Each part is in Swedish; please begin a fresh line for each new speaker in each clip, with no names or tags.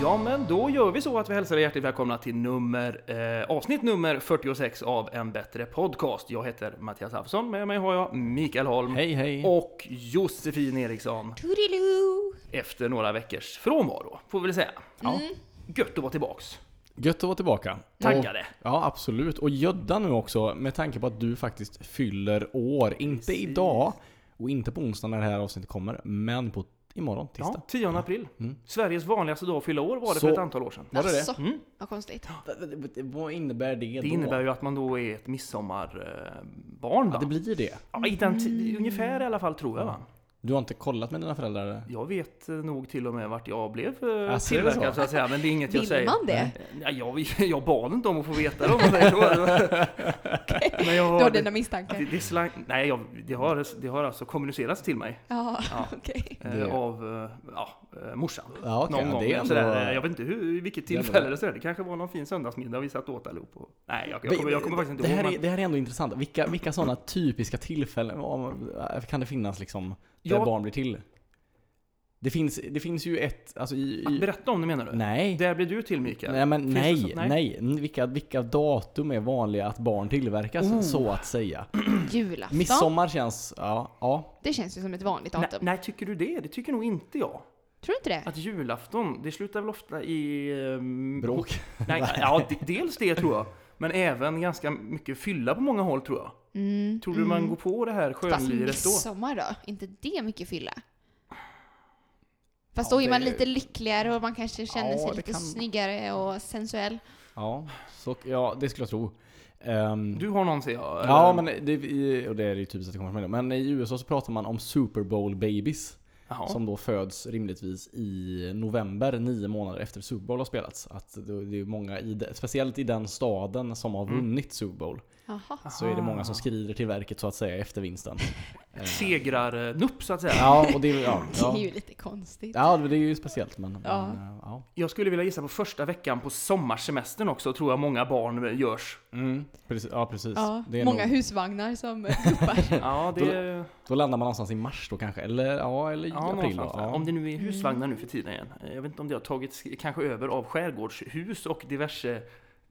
Ja, men då gör vi så att vi hälsar er hjärtligt välkomna till nummer, eh, avsnitt nummer 46 av En Bättre Podcast. Jag heter Mattias Alfsson, med mig har jag Mikael Holm
Hej hej!
och Josefin Eriksson
Toodiloo!
efter några veckors frånvaro, får vi väl säga.
Ja.
Gött att vara tillbaks.
Gött att vara tillbaka.
Taggade.
Och, ja, absolut. Och gödda nu också med tanke på att du faktiskt fyller år. Inte
Precis.
idag och inte på onsdag när det här avsnittet kommer, men på imorgon,
Ja,
tisdag.
10 april. Sveriges vanligaste dag att fylla år var det
Mm. Så-
för ett antal år sedan.
Var det det? Mm.
Alltså, vad konstigt.
Vad innebär det,
Det innebär ju att man då är ett midsommarbarn va?
Det blir det.
Ja, i den ti- ungefär i alla fall tror jag va?
Du har inte kollat med dina föräldrar? eller?
Jag vet eh, nog till och med vart jag blev eh,
Alltså, är det
tillverkad
så?
så att säga, men det är inget jag
Vill
säger.
man det?
Ja, jag, jag bad inte om att få veta det om man säger så. Men jag
Du har
det, det,
dina misstankar?
det slang, nej, jag, det, har, det har alltså kommunicerats till mig
Ja,
Ja.
okej.
eh,
Det-
av eh, ja, eh, morsan.
Ja, okej.
någon gång.
det är ändå...
sådär, eh, jag vet inte hur, i vilket
Det är ändå
tillfälle
bra.
det sådär. Det kanske var någon fin söndagsmiddag vi satt åt allihop. Och, nej, jag, jag, kommer, jag kommer faktiskt
det,
inte
här
ihåg.
är, det här är ändå intressant. Vilka, vilka sådana typiska tillfällen vad- kan det finnas liksom, där
Ja.
barn blir till? Det finns, det finns ju ett... Alltså, i,
Men,
i,
berätta om det menar du.
nej.
Där blir du till Mikael.
Nej, men
Finns det
nej,
så- nej.
nej, Mm, Vilka, vilka datum är vanliga att barn tillverkas,
Oh.
så att säga?
Julafton.
Midsommar känns... Ja, ja.
alltså. Det känns ju som ett vanligt
Nej,
datum.
nej, tycker du det? Det tycker nog inte jag.
Tror du inte det?
Att julafton, det slutar väl ofta i... ehm,
Bråk.
Nej, ja, d- dels det tror jag. Men även ganska mycket fylla på många håll tror jag.
Mm,
Tror du man går på det här
Fast
skönliret då?
midsommar då? Inte det mycket fylla? Fast
Ja,
då är man
det-
lite lyckligare och man kanske känner
Ja,
sig
det
lite
kan-
snyggare och sensuell.
Ja, så, ja, det skulle jag tro. Ehm,
Du har någon ser jag. eller?
ja, men det, i- och det är ju typiskt att det kommer från mig då. Men i USA så pratar man om Super Bowl babies.
Jaha.
Som då föds rimligtvis i november, nio månader efter Super Bowl har spelats. Att det det är många, i, de- speciellt i den staden som
Mm.
har vunnit Super Bowl,
Jaha.
så är det många som skrider till verket så att säga efter vinsten.
Segrar eh, nupp så att säga.
Ja, och det, är- ja,
Det är
ja.
ju lite konstigt.
ja, det är ju speciellt men...
Ja.
men, eh, ja.
Jag skulle vilja gissa på första veckan på sommarsemestern också, tror jag många barn görs.
Mm, precis, ja, precis.
Ja,
Det är
många
nog-
husvagnar som guppar.
Ja, det...
Då-
ja,
Då landar man någonstans i mars då kanske, eller ja, eller i april då.
någonstans där.
Ja.
Om det
Mm.
nu är husvagnar nu för tiden igen. Eh, Jag vet inte om det har tagits eh, kanske över av skärgårdshus och diverse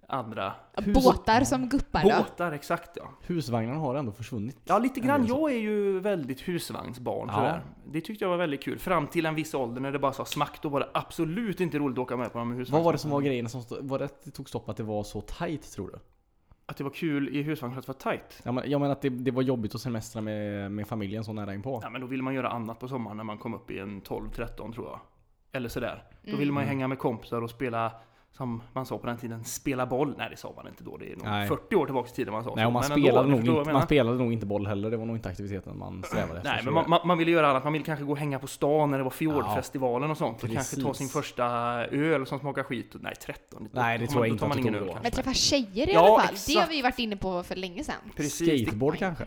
andra
Båtar som guppar då.
båtar. Exakt ja.
Husvagnarna har ändå försvunnit.
Ja, lite
En
grann.
del så.
Jag är ju väldigt husvagnsbarn
Ja.
sådär. Det tyckte jag var väldigt kul. Fram till en viss ålder när det bara sa smack, då var det absolut inte roligt att åka med på de husvagnsbarn.
Vad var det som var grejen som stod, var det att det tog stopp att det var så tight tror du?
Att det var kul i husvagn för att det var tajt.
Ja, men, jag menar att det, det var jobbigt att semestra med, med familjen så nära inpå.
Ja, men då ville man göra annat på sommaren när man kom upp i en 12-13 tror jag. Eller sådär. Då ville
Mm.
man ju hänga med kompisar och spela, som man sa på den tiden, spela boll. Nej, det sa man inte då. Det är nog
Nej.
40 år tillbaka i tiden man sa
Nej,
så.
och man,
Men ändå,
spelade
du
nog
förstår vad
inte,
jag
man
menar.
spelade nog inte boll heller, det var nog inte aktiviteten man strävade efter.
Nej,
så
men
det-
man, man, man ville göra annat. Man ville kanske gå och hänga på stan när det var fjordfestivalen och sånt. Och
Precis.
kanske ta sin första öl som smakar skit. Nej, 13.
Nej, det
Då
tror jag
tar
inte att
man
du
ingen
tog
öl
då.
kanske.
Men träffa tjejer i
Ja,
alla fall. Det har
exakt.
vi ju varit inne på för länge sedan.
Precis. det-
Skateboard kanske?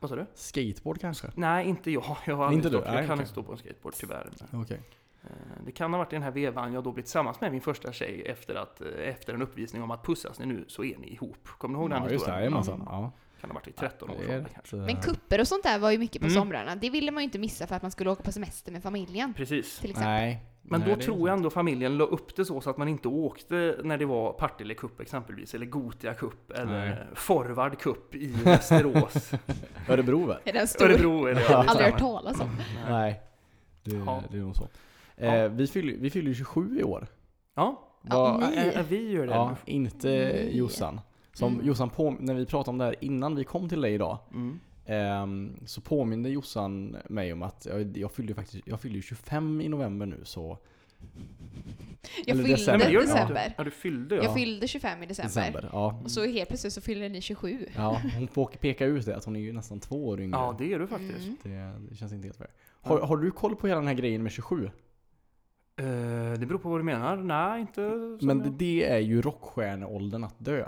Vad sa du?
Skateboard kanske?
Nej, inte jag. Jag, har aldrig
Inte du?
stått, jag
Nej,
kan
okej.
inte stå på en skateboard tyvärr. Men,
Okej.
eh, Det kan ha varit i den här vevan jag då blivit tillsammans med min första tjej efter, att, eh, efter en uppvisning om att pussas ni nu så är ni ihop. Kommer du ihåg den
Ja, just det.
historien?
Jajamensan. Ja.
Kan ha varit i 13 års
Det är
ålder
rätt,
kanske.
eh,
Men kupper och sånt där var ju mycket på
Mm.
somrarna. Det ville man ju inte missa för att man skulle åka på semester med familjen.
Precis.
Till exempel.
Nej.
Men
Nej,
då
det är
tror jag ändå familjen la upp det så, så att man inte åkte när det var Partille Cup exempelvis, eller Gotia Cup, eller
Nej.
Forward Cup i Västerås.
sant. Örebro väl?
Är den stor?
Örebro är det.
Ja.
Aldrig hört talas om.
Nej. Det,
Ja.
det är nog så.
Ja.
Eh, vi fyller vi fyller ju 27 i år.
Ja,
Vad-
ni.
ä- ä- vi gör det.
ja, inte
Nej.
Jossan. Som
Mm.
Jossan, på, när vi pratade om det här innan vi kom till dig idag,
Mm.
Ehm, så påminde Jossan mig om att jag, jag fyllde ju faktiskt, jag fyllde ju 25 i november nu så
Jag
Eller
fyllde
december.
Nej, men det gör du
december.
Ja, du fyllde
Jag
ja.
fyllde 25 i december.
december. Ja.
Och så helt plötsligt så fyller ni 27.
ja, hon påk- pekar ut det att hon är ju nästan två år yngre.
Ja, det gör du faktiskt.
Mm.
det, det känns inte helt fair. Har, har du koll på hela den här grejen med 27?
Mm.
Eh, det beror på vad du menar. Nej, inte som
Men
jag-
det, det är ju rockstjärneåldern att dö.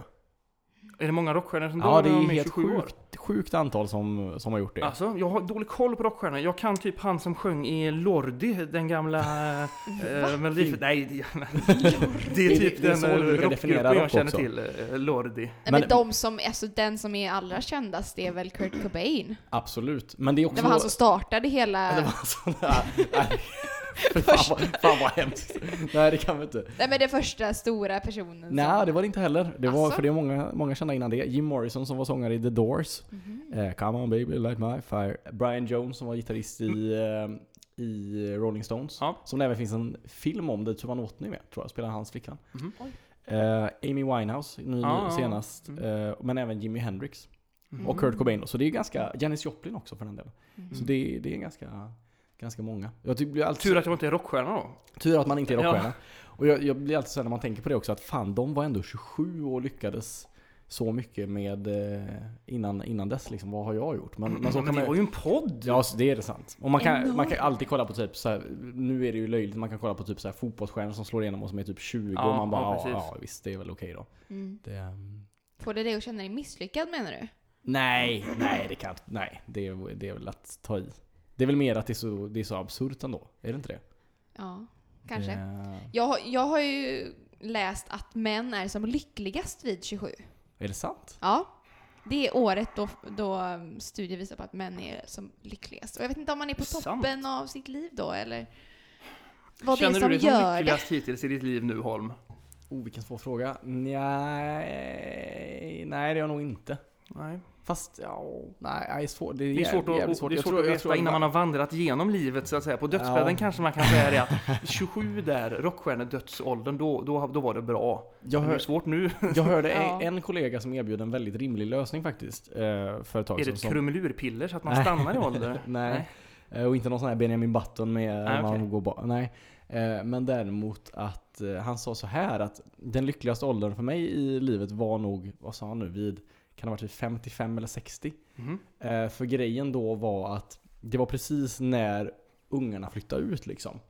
Är det många rockstjärnor som
Ja,
dör
det
när
är
de är
helt
27 år?
sjukt, sjukt antal som, som har gjort det.
Alltså, jag har dålig koll på rockstjärnor. Jag kan typ han som sjöng i Lordi, den gamla...
Mm.
Eh, Melodif- Nej, det, det är
Det-
typ
det är
den
så vi brukar definiera
rockgruppen jag
rock
känner
också.
till, eh, Lordi.
Nej, men,
Men-
de som, alltså den som är allra kändast är väl Kurt Cobain.
Absolut. Men det är också...
Det var han som startade
Ja,
hela...
det var han som- Fy fan, vad, fan vad hemskt. Nej det kan vi inte.
Nej men det första stora personen
Nej
som...
det var det inte heller. Det var,
Asså?
för det var många, många kända innan det. Jim Morrison som var sångare i The Doors.
Mhm.
Eh, Come on baby, light my fire. Brian Jones som var gitarrist i, eh, i Rolling Stones.
Ja.
Som det även finns en film om där Tuvan Watney är med, tror jag, spelar hans flickvän.
Mhm.
Oj.
Eh, Amy Winehouse, nu
Ja, ja,
senast.
mm.
Eh, men även Jimi Hendrix.
Mm.
Och Kurt Cobain. då. Så det är ju ganska, Janis Joplin också för den delen.
Mhm.
Så det, det är ganska, ganska många. Jag tycker det blir alltid,
Tur att jag inte är rockstjärna
Mm,
då.
tur att man inte är
Ja.
rockstjärna. Och jag, jag blir alltid så här när man tänker på det också att fan, de var ändå 27 och lyckades så mycket med eh, innan, innan dess liksom. Vad har jag gjort? Men, men så
Men
kan
det var
man,
ju en podd!
Ja, så det är det sant. Och man kan,
Enormt.
man kan alltid kolla på typ så här, nu är det ju löjligt, man kan kolla på typ så här fotbollsstjärnor som slår igenom och som är typ 20
Ja,
och man bara
ja,
ja,
precis.
ja visst det är väl okej då.
Mm.
Det, ehm,
Får det dig att känna dig misslyckad menar du?
nej, nej det kan inte- nej det, är- det är väl att ta i. Det är väl mer att det är så, det är så absurt ändå, är det Eh, inte det?
Ja, kanske.
Det,
Jag, har- jag har ju läst att män är som lyckligast vid 27.
är det sant?
Ja. Det är året då, då um, studier visar på att män är som lyckligast. Och jag vet inte om man är på
Sant.
toppen av sitt liv då eller vad
Känner
det är som
du dig
gör det.
lyckligast hittills i ditt liv nu Holm?
Oh, vilken svår fråga. Nej, nej det är jag nog inte.
Nej.
Fast ja, nej, det är svårt. Det är,
Det är svårt
jävligt
att,
svårt.
det är
Jag
svårt
tror-
att
jag
veta
tror
innan man har vandrat genom livet så att säga. På dödsbädden
Ja.
kanske man kan säga det att 27 där, rockstjärnedödsåldern, då, då, då var det bra.
Jag
Men det
hör,
är svårt nu.
Jag hörde
Ja.
en kollega som erbjöd en väldigt rimlig lösning faktiskt. eh, För ett tag
Är det
sedan.
ett
som-
krumelurpiller så att man
Nej.
stannar i ålder?
Nej. eh, Och inte någon sån här Benjamin Button med
Nej,
när man
Ah, okej.
går ba- Nej. Eh, Men däremot att eh, han sa så här att den lyckligaste åldern för mig i livet var nog, vad sa han nu, vid, kan det ha varit vid 55 eller 60?
Mhm.
Eh, För grejen då var att det var precis när ungarna flyttade ut liksom.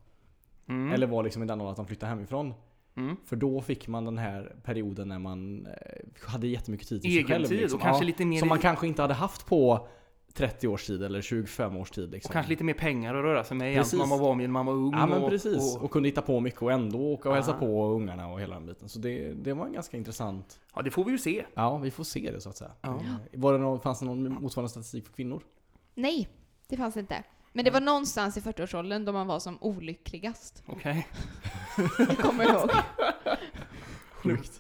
Mm.
Eller var liksom i den åldern att de flyttade hemifrån.
Mm.
För då fick man den här perioden när man eh, hade jättemycket tid till sig
Egen
själv.
tid
liksom.
och kanske
Ja.
lite mer
Som man kanske inte hade haft på 30 års tid eller 25 års tid. Liksom.
Och kanske lite mer pengar att röra sig med igen.
Precis.
Man var van vid när man var ung.
Ja men
och,
precis.
Och,
Och kunde hitta på mycket och ändå åka och hälsa
Ah.
på ungarna och hela den biten. Så det, det var en ganska intressant.
ja, det får vi ju se.
Ja, vi får se det så att säga.
Ja.
Eh, Var det någon, fanns det någon motsvarande statistik för kvinnor?
Nej, det fanns inte. Men det var någonstans i 40-årsåldern då man var som olyckligast.
Okej.
Jag kommer ihåg.
Sjukt.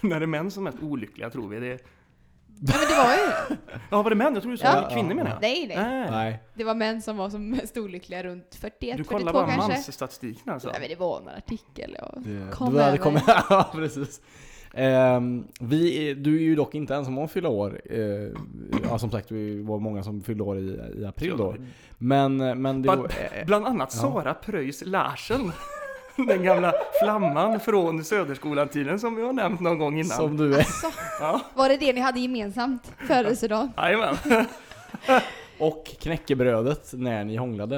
När det är män som är mest olyckliga tror vi. Det...
Nej men det var ju...
Ja, var det män? Jag tror du sa
Ja.
kvinnor menar jag.
Nej, nej.
Nej.
Nej.
Det var män som var som mest olyckliga runt 41,
Du
42
kollar bara
kanske.
mansstatistiken alltså.
Nej men det var en artikel. Jag...
Det,
Kom
du hade
över.
kommit- ja, precis. Ehm, vi, är- du är ju dock inte ensam om att fylla år. Eh, ja, som sagt, vi var många som fyllde år i, i april då. Men, men det
But-
var, eh,
Bland annat
Ja.
Sara Pröjs Larsen. Den gamla flamman från Söderskolan-tiden som vi har nämnt någon gång innan.
som du är.
Alltså,
Ja,
var det det ni hade gemensamt? Födelsedagen?
jajamän.
Och knäckebrödet när ni hånglade.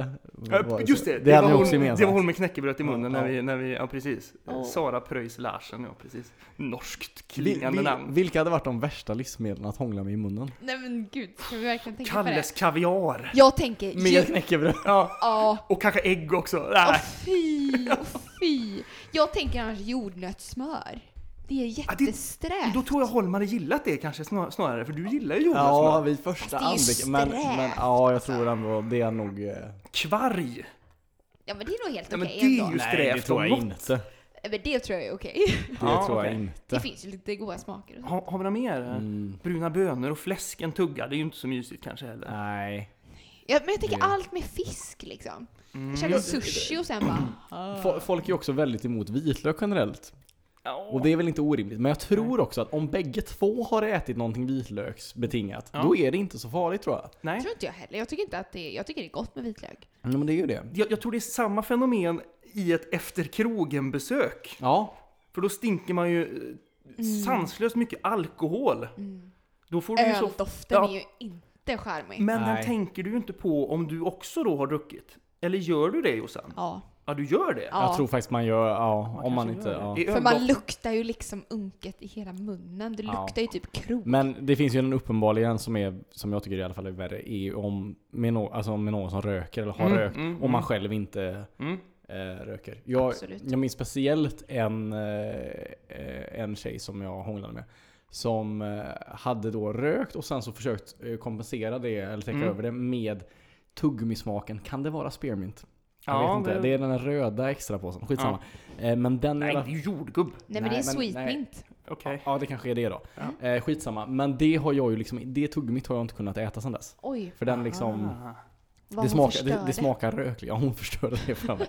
Ja,
Var-
Just det,
det hade
var
ni också
hon, det
gemensamt.
var hon med knäckebröd i munnen
Ja,
när
ja.
vi, när vi, ja precis.
Ja.
Sara Pröjs Larsen, ja precis. Norskt
Vi-
klingande
vi-
namn.
Vilka hade varit de värsta livsmedlen att hångla med i munnen?
Nej men gud, ska vi verkligen tänka på det?
Kalles kaviar.
Jag tänker...
Med knäckebröd.
Ja,
Ja,
och kanske ägg också.
Åh
Nej.
fy, åh fy. Jag tänker annars jordnötssmör. Det är
Ja, det-
jättesträvt.
Då tror jag Holm hade gillat det kanske snar- snarare, för du gillar ju jordnötssmör.
Ja, vid första
Fast det är
anblick.
ju
Men,
strävt,
men ja, jag tror ändå det är nog... eh,
Kvarg!
Ja men det är nog helt
Ja, men
okej
det är
ändå.
ju- strävt och gott.
inte.
Ja, Men det tror jag är okej.
Det
Ja,
tror jag
okej.
Det
inte.
finns ju lite goda smaker och så.
Ha, har vi några mer?
Mm,
Bruna bönor och fläsk, en tugga, det är ju inte så mysigt kanske heller.
nej.
Ja, men jag tänker
Det-
allt med fisk liksom.
Mm.
Jag käkar
Jag-
sushi och sen bara... "Ah."
Fo- Folk är ju också väldigt emot vitlök generellt.
Ja.
Och det är väl inte orimligt. Men jag tror också att om bägge två har ätit någonting vitlöksbetingat,
Ja.
då är det inte så farligt tror jag.
Nej.
tror inte jag heller. Jag tycker inte att det är... Jag tycker det är gott med vitlök.
Nej, men det är ju det.
Jag, jag tror det är samma fenomen i ett efter krogen-besök.
Ja,
För då stinker man ju eh,
Mm.
sanslöst mycket alkohol. Då får du ju så...
Öldoften
Ja.
är ju inte charmig.
Men den
Nej.
tänker du ju inte på om du också då har druckit. Eller gör du det Jossan?
Ja.
Ja, du gör det.
ja.
jag tror faktiskt man gör, ja, om man
kanske
inte...
gör det.
Ja.
Det är
För man
ögondoft-
luktar ju liksom unket i hela munnen. Det
Ja.
luktar ju typ krok.
Men det finns ju en uppenbarligen som är, som jag tycker i alla fall är värre, är om med, no, alltså med någon som röker eller har
Mm,
rökt,
mm,
om man
mm.
själv inte
Mm.
eh, röker. Jag,
Absolut.
jag minns speciellt en, eh, eh, en tjej som jag hånglade med. Som eh, hade då rökt och sen så försökt eh, kompensera det, eller täcka
Mm.
över det med tuggummismaken. Kan det vara spearmint? Jag
Ja,
vet inte.
det-
Det... är den här röda extra påsen. Skitsamma. Eh, men den är...
Nej,
i
det
alla-
är ju jordgubb.
Nej, men
Nej,
det
men-
är sweet
nej.
mint.
Okej.
Ja, det kanske är det då. Eh, skitsamma. Men det har jag ju liksom, det tuggummit har jag inte kunnat äta sedan dess.
Oj,
För den liksom,
Ah.
vad
det,
hon
smakar, det,
förstörde.
det smakar röklig. Ja, hon förstörde det för mig.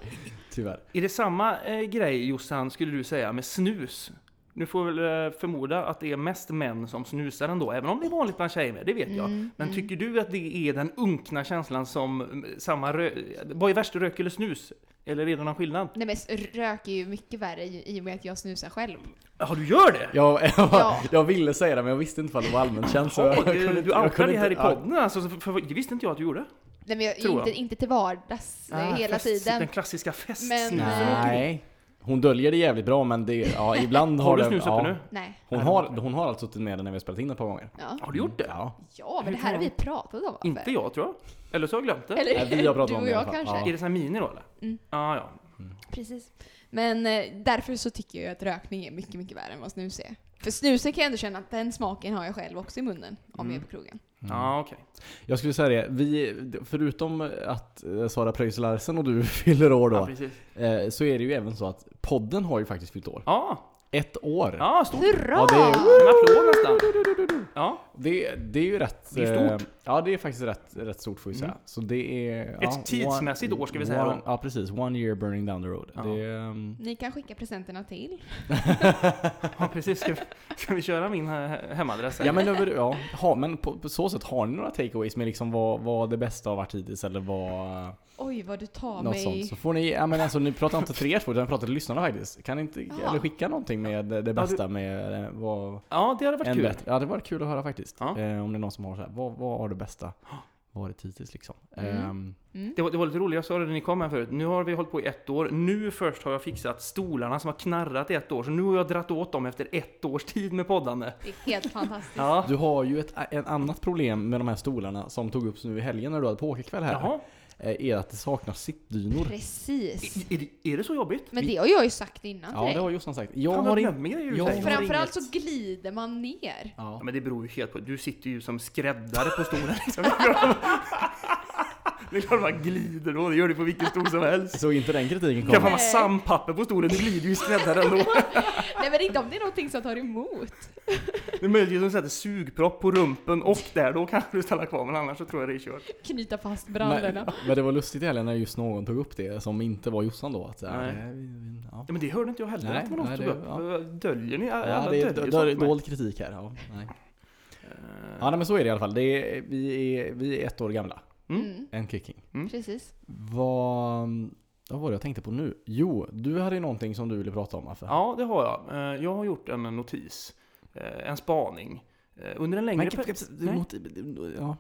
Tyvärr.
Är det samma eh, grej Jossan, skulle du säga, med snus? Nu får jag väl eh, förmoda att det är mest män som snusar ändå, även om det är vanligt bland tjejer med, det vet jag.
Mm,
Men tycker du att det är den unkna känslan som mm, samma rö- Vad är värst, rök eller snus? Eller är det någon skillnad?
Nej men s- rök är ju mycket värre i i och med att jag snusar själv.
Ja, du gör det?
Jag, jag,
Ja.
jag ville säga det men jag visste inte vad det var allmänt känt. så jag- jag
Jaha, du
kunde
du
inte- jag
outar
kunde
det här i
inte-
podden alltså, för, för, det visste inte jag att du gjorde.
Nej men jag,
Tror
inte,
jag.
inte till vardags eh,
Ah,
hela
fest- Den
tiden.
klassiska festsnusen.
Men,
Ja.
Mm.
eh,
Nej. Hon döljer det jävligt bra men det, ja ibland har,
Har du
det...
snus
ja,
uppe nu?
Nej.
Hon har, hon har alltså suttit med den när vi har spelat in ett par gånger.
Ja.
Har du gjort det?
Ja.
ja,
Hur
men det
kan
här har vi
man-
pratat om.
Inte jag tror jag. Eller så har jag glömt det.
Eller
Nej, vi har pratat
du
om
och
det i
jag
alla fall.
kanske.
Ja.
Är det sån här mini då eller?
Mm.
Ah, ja,
Precis. Men eh, därför så tycker jag ju att rökning är mycket, mycket värre än vad snus är. För snusen kan jag ändå känna att den smaken har jag själv också i munnen om
Mm.
jag är på krogen.
ja. Ah, okej.
Jag skulle säga det, vi, förutom att eh, Sara Preuss Larsen och du fyller år då,
Ja, precis.
eh, så är det ju även så att podden har ju faktiskt fyllt år.
Ja,
Ett år!
ja stort.
Hurra!
Ja, det är-
En applåd nästan. Ja,
Det, det är ju rätt...
Det är Mm.
Eh, ja, det är faktiskt rätt, rätt stort får vi säga. Så det är... Ett ja,
tidsmässigt år ska vi säga då.
One, ja, precis. One year burning down the road.
Ja.
Det, är, ehm,
Ni kan skicka presenterna till.
ja precis. Ska vi, ska vi köra min he- hemadress? här?
ja, men, över, ja, ha, men på, på så sätt, har ni några takeaways med liksom vad, vad det bästa har varit hittills eller vad...
Oj, vad du tar
Något
mig.
sånt. Så får ni, ja men alltså ni pratar inte till er två utan ni pratar till lyssnarna faktiskt. Kan ni inte,
Ja.
eller skicka någonting med det det
Ja, du-
bästa med eh, vad...
ja det hade varit
En
kul.
bättre, ja det var kul att höra faktiskt.
Ja.
Eh, om det är någon som har så här, vad, vad har det bästa varit hittills liksom?
Mm.
Ehm,
Det var, det var lite roligt, jag sa det när ni kom här förut. Nu har vi hållit på i ett år. Nu först har jag fixat stolarna som har knarrat i ett år. Så nu har jag dratt åt dem efter ett års tid med poddande.
Det är helt fantastiskt.
Ja.
Du har ju ett en annat problem med de här stolarna som tog upp nu i helgen när du hade pokerkväll här.
Jaha.
Eh, Är att det saknas sittdynor.
Precis.
Är, är, det, är det så jobbigt?
Men det har jag ju sagt innan
Ja
till
det
dig.
har Jossan sagt. Jag
Fan,
har
jag
inte...
glömmer grejer ur
jag
sig.
har
Framförallt så glider man ner.
Ja.
Ja, men det beror ju helt på. Du sitter ju som skräddare på stolen. liksom. det är klart man glider då. Det gör du på vilken stol som helst.
Så inte den kritiken
Skaffar
kommer.
man sandpapper på stolen, du glider ju skräddare ändå.
Nej men inte om det är någonting som tar emot.
Det är möjligtvis att sätta sugpropp på rumpen och där, då kanske du stannar kvar, men annars så tror jag det är kört.
Knyta fast
Men,
brallorna.
men det var lustigt i helgen när just någon tog upp det som inte var Jossan då. Att, så här,
Nej.
eh, vi- vi- ja.
Ja, men det hörde inte jag heller
Nej,
att det var någon
nej,
som
det-
tog upp. Döljer ni? Alla
Ja, det är
döljer
do-
sånt
do-
för mig.
dold kritik här. Ja, nej.
Eh,
ja nej, men så är det i alla fall. Det är, vi, är, vi är ett år gamla.
Mm,
En kicking.
precis.
Vad, vad var det jag tänkte på nu? Jo, du hade ju någonting som du ville prata om Affe.
Ja, det har jag. Eh, Jag har gjort en notis, eh, en spaning. Eh, Under en längre
Men,
period...
kan,
Nej,
not, ja,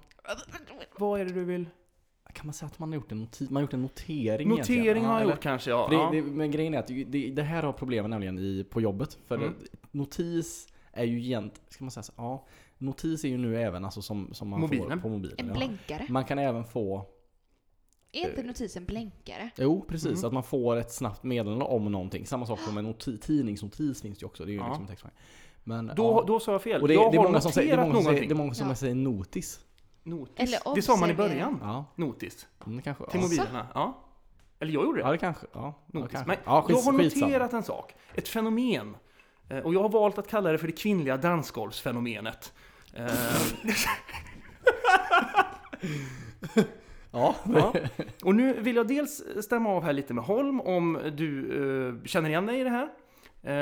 Vad är det du vill?
kan man säga att man har gjort en, noti- man har gjort en notering?
Notering
egentligen?
har
Ja,
jag
eller-
gjort kanske, ja.
För
ja.
Det, det, men grejen är att ju- det, det här har problemen nämligen i, på jobbet. För
Mm.
det- notis är ju egent, ska man säga så, ja. Notis är ju nu även alltså som, som man får
Mobilen.
på mobilen.
En
ja.
blänkare.
Mm.
Man kan även få,
Är inte notisen blänkare?
jo precis,
Mm.
att man får ett snabbt meddelande om någonting. Samma sak som en noti, tidningsnotis finns ju också. Det är ju
Ja.
liksom text. Men,
Då,
ja.
då sa jag fel.
Och det,
jag
det, är
har
många som
noterat
säger, det är många som säger,
någonting.
det är många som
Ja.
säger notis.
Notis.
Eller
det sa man i
observera.
början.
Ja,
Notis.
mm, kanske.
Till
ja.
mobilerna. Ja. Eller jag gjorde det.
Ja, det kanske. Ja, ja,
Notis.
kanske.
Men
ja,
jag har
skitsamma.
noterat en sak, ett fenomen. Eh, Och jag har valt att kalla det för det kvinnliga dansgolvsfenomenet. Eh,
Ja,
ja. Och nu vill jag dels stämma av här lite med Holm om du eh, känner igen dig i det här.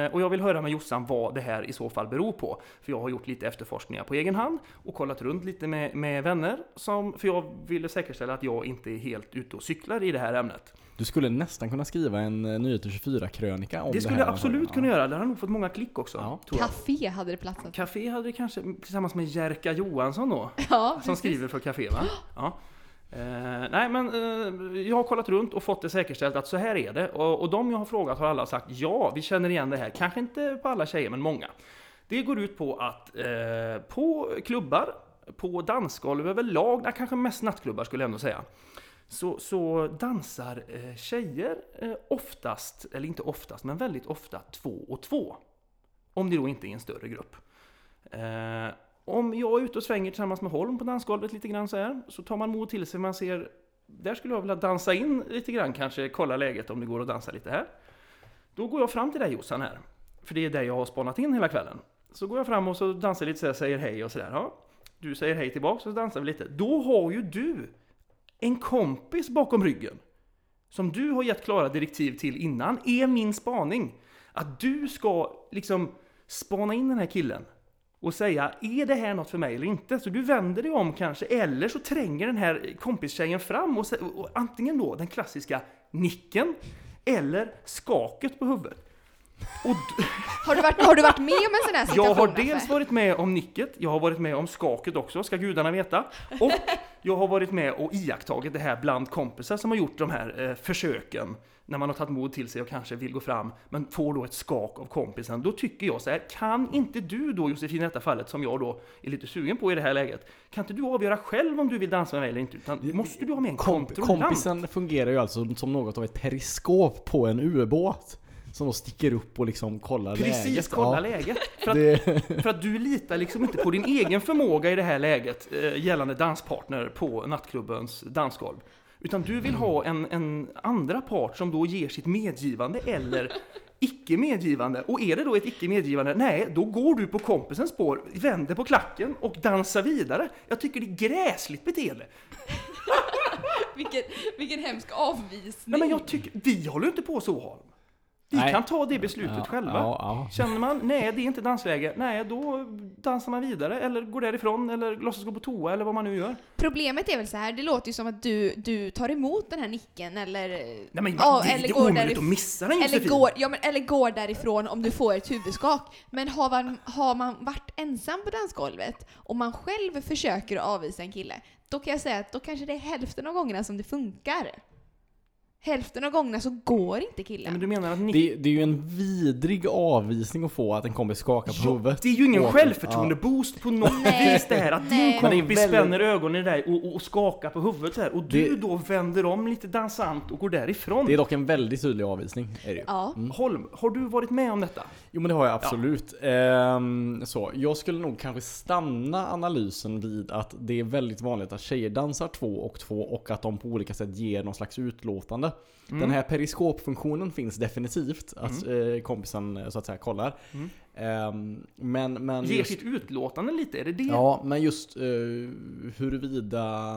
Eh, och jag vill höra med Jossan vad det här i så fall beror på. För jag har gjort lite efterforskningar på egen hand och kollat runt lite med, med vänner. Som, för jag ville säkerställa att jag inte är helt ute och cyklar i det här ämnet.
Du skulle nästan kunna skriva en eh, Nyheter 24-krönika om
det
det
skulle
här
jag absolut
Ja.
kunna göra, det har nog fått många klick också.
Ja.
tror jag.
Café hade det platsat.
Café hade det kanske tillsammans med Jerka Johansson då,
Ja,
som
precis.
skriver för Café va? Ja. Eh, nej men eh, jag har kollat runt och fått det säkerställt att så här är det. Och, och de jag har frågat har alla sagt ja, vi känner igen det här. Kanske inte på alla tjejer, men många. Det går ut på att eh, på klubbar, på dansgolv överlag, nej, kanske mest nattklubbar skulle jag ändå säga. Så, så dansar eh, tjejer eh, oftast, eller inte oftast, men väldigt ofta två och två. Om det då inte är en större grupp. Eh, om jag är ute och svänger tillsammans med Holm på dansgolvet lite grann så här, så tar man mod till sig, man ser där skulle jag vilja dansa in lite grann kanske, kolla läget om det går att dansa lite här. Då går jag fram till dig Jossan här, för det är där jag har spanat in hela kvällen. Så går jag fram och så dansar lite så här, säger hej och sådär. Ja. Du säger hej tillbaks och så dansar vi lite. Då har ju du en kompis bakom ryggen som du har gett klara direktiv till innan, är min spaning. Att du ska liksom spana in den här killen och säga, är det här något för mig eller inte? Så du vänder dig om kanske, eller så tränger den här kompistjejen fram och, sä- och antingen då den klassiska nicken eller skaket på huvudet. Och d-
Har du varit, har du varit med om en sån här situation?
jag har
Affe?
dels varit med om nicket, jag har varit med om skaket också, ska gudarna veta. Och jag har varit med och iakttagit det här bland kompisar som har gjort de här eh, försöken. När man har tagit mod till sig och kanske vill gå fram, men får då ett skak av kompisen. Då tycker jag så här, kan inte du då Josefin i detta fallet, som jag då är lite sugen på i det här läget, kan inte du avgöra själv om du vill dansa med mig eller inte? Utan måste du ha med en
Komp-
kontrollant?
kompisen fungerar ju alltså som något av ett periskop på en ubåt. Som då sticker upp och liksom kollar
Precis,
läget.
kolla
Ja,
läget. För att
Det,
För att du litar liksom inte på din egen förmåga i det här läget eh, gällande danspartner på nattklubbens dansgolv. Utan du vill ha en, en andra part som då ger sitt medgivande eller icke medgivande. Och är det då ett icke medgivande, nej, då går du på kompisens spår, vänder på klacken och dansar vidare. Jag tycker det är gräsligt beteende.
Vilken, vilken hemsk avvisning.
Nej, men jag tycker, vi håller ju inte på så Holm. Vi
Nej.
kan ta det beslutet själva.
Ja, ja.
Känner man, nej det är inte dansläge, nej då dansar man vidare eller går därifrån eller låtsas gå på toa eller vad man nu gör.
Problemet är väl så här, det låter ju som att du, du tar emot den här nicken eller...
Nej men
Ja,
det, är ju omöjligt att missa den
Eller
Josefin!
går, ja, men, eller går därifrån om du får ett huvudskak. Men har man, har man varit ensam på dansgolvet och man själv försöker att avvisa en kille, då kan jag säga att då kanske det är hälften av gångerna som det funkar. Hälften av gångerna så går inte
Nej,
killen.
men du menar att ni...
det, det är ju en vidrig avvisning att få att en kompis skakar på huvudet.
Det är ju ingen
Åter-
självförtroendeboost på något
Nej.
vis det här att din
Nej.
Men det är
kompis
väldigt-
spänner ögonen i dig och, och, och skakar på huvudet så här och du
Det-
då vänder om lite dansant och går därifrån.
Det är dock en väldigt tydlig avvisning. Är det ju.
Ja.
Holm, har du varit med om detta?
Jo men det har jag absolut. Ehm, så. Jag skulle nog kanske stanna analysen vid att det är väldigt vanligt att tjejer dansar två och två och att de på olika sätt ger någon slags utlåtande.
Mm.
Den här periskopfunktionen finns definitivt. Att eh, kompisen eh, så att säga kollar. Ehm, men, men
Ger
just-
sitt utlåtande lite, är det det
Ja, men just eh, huruvida...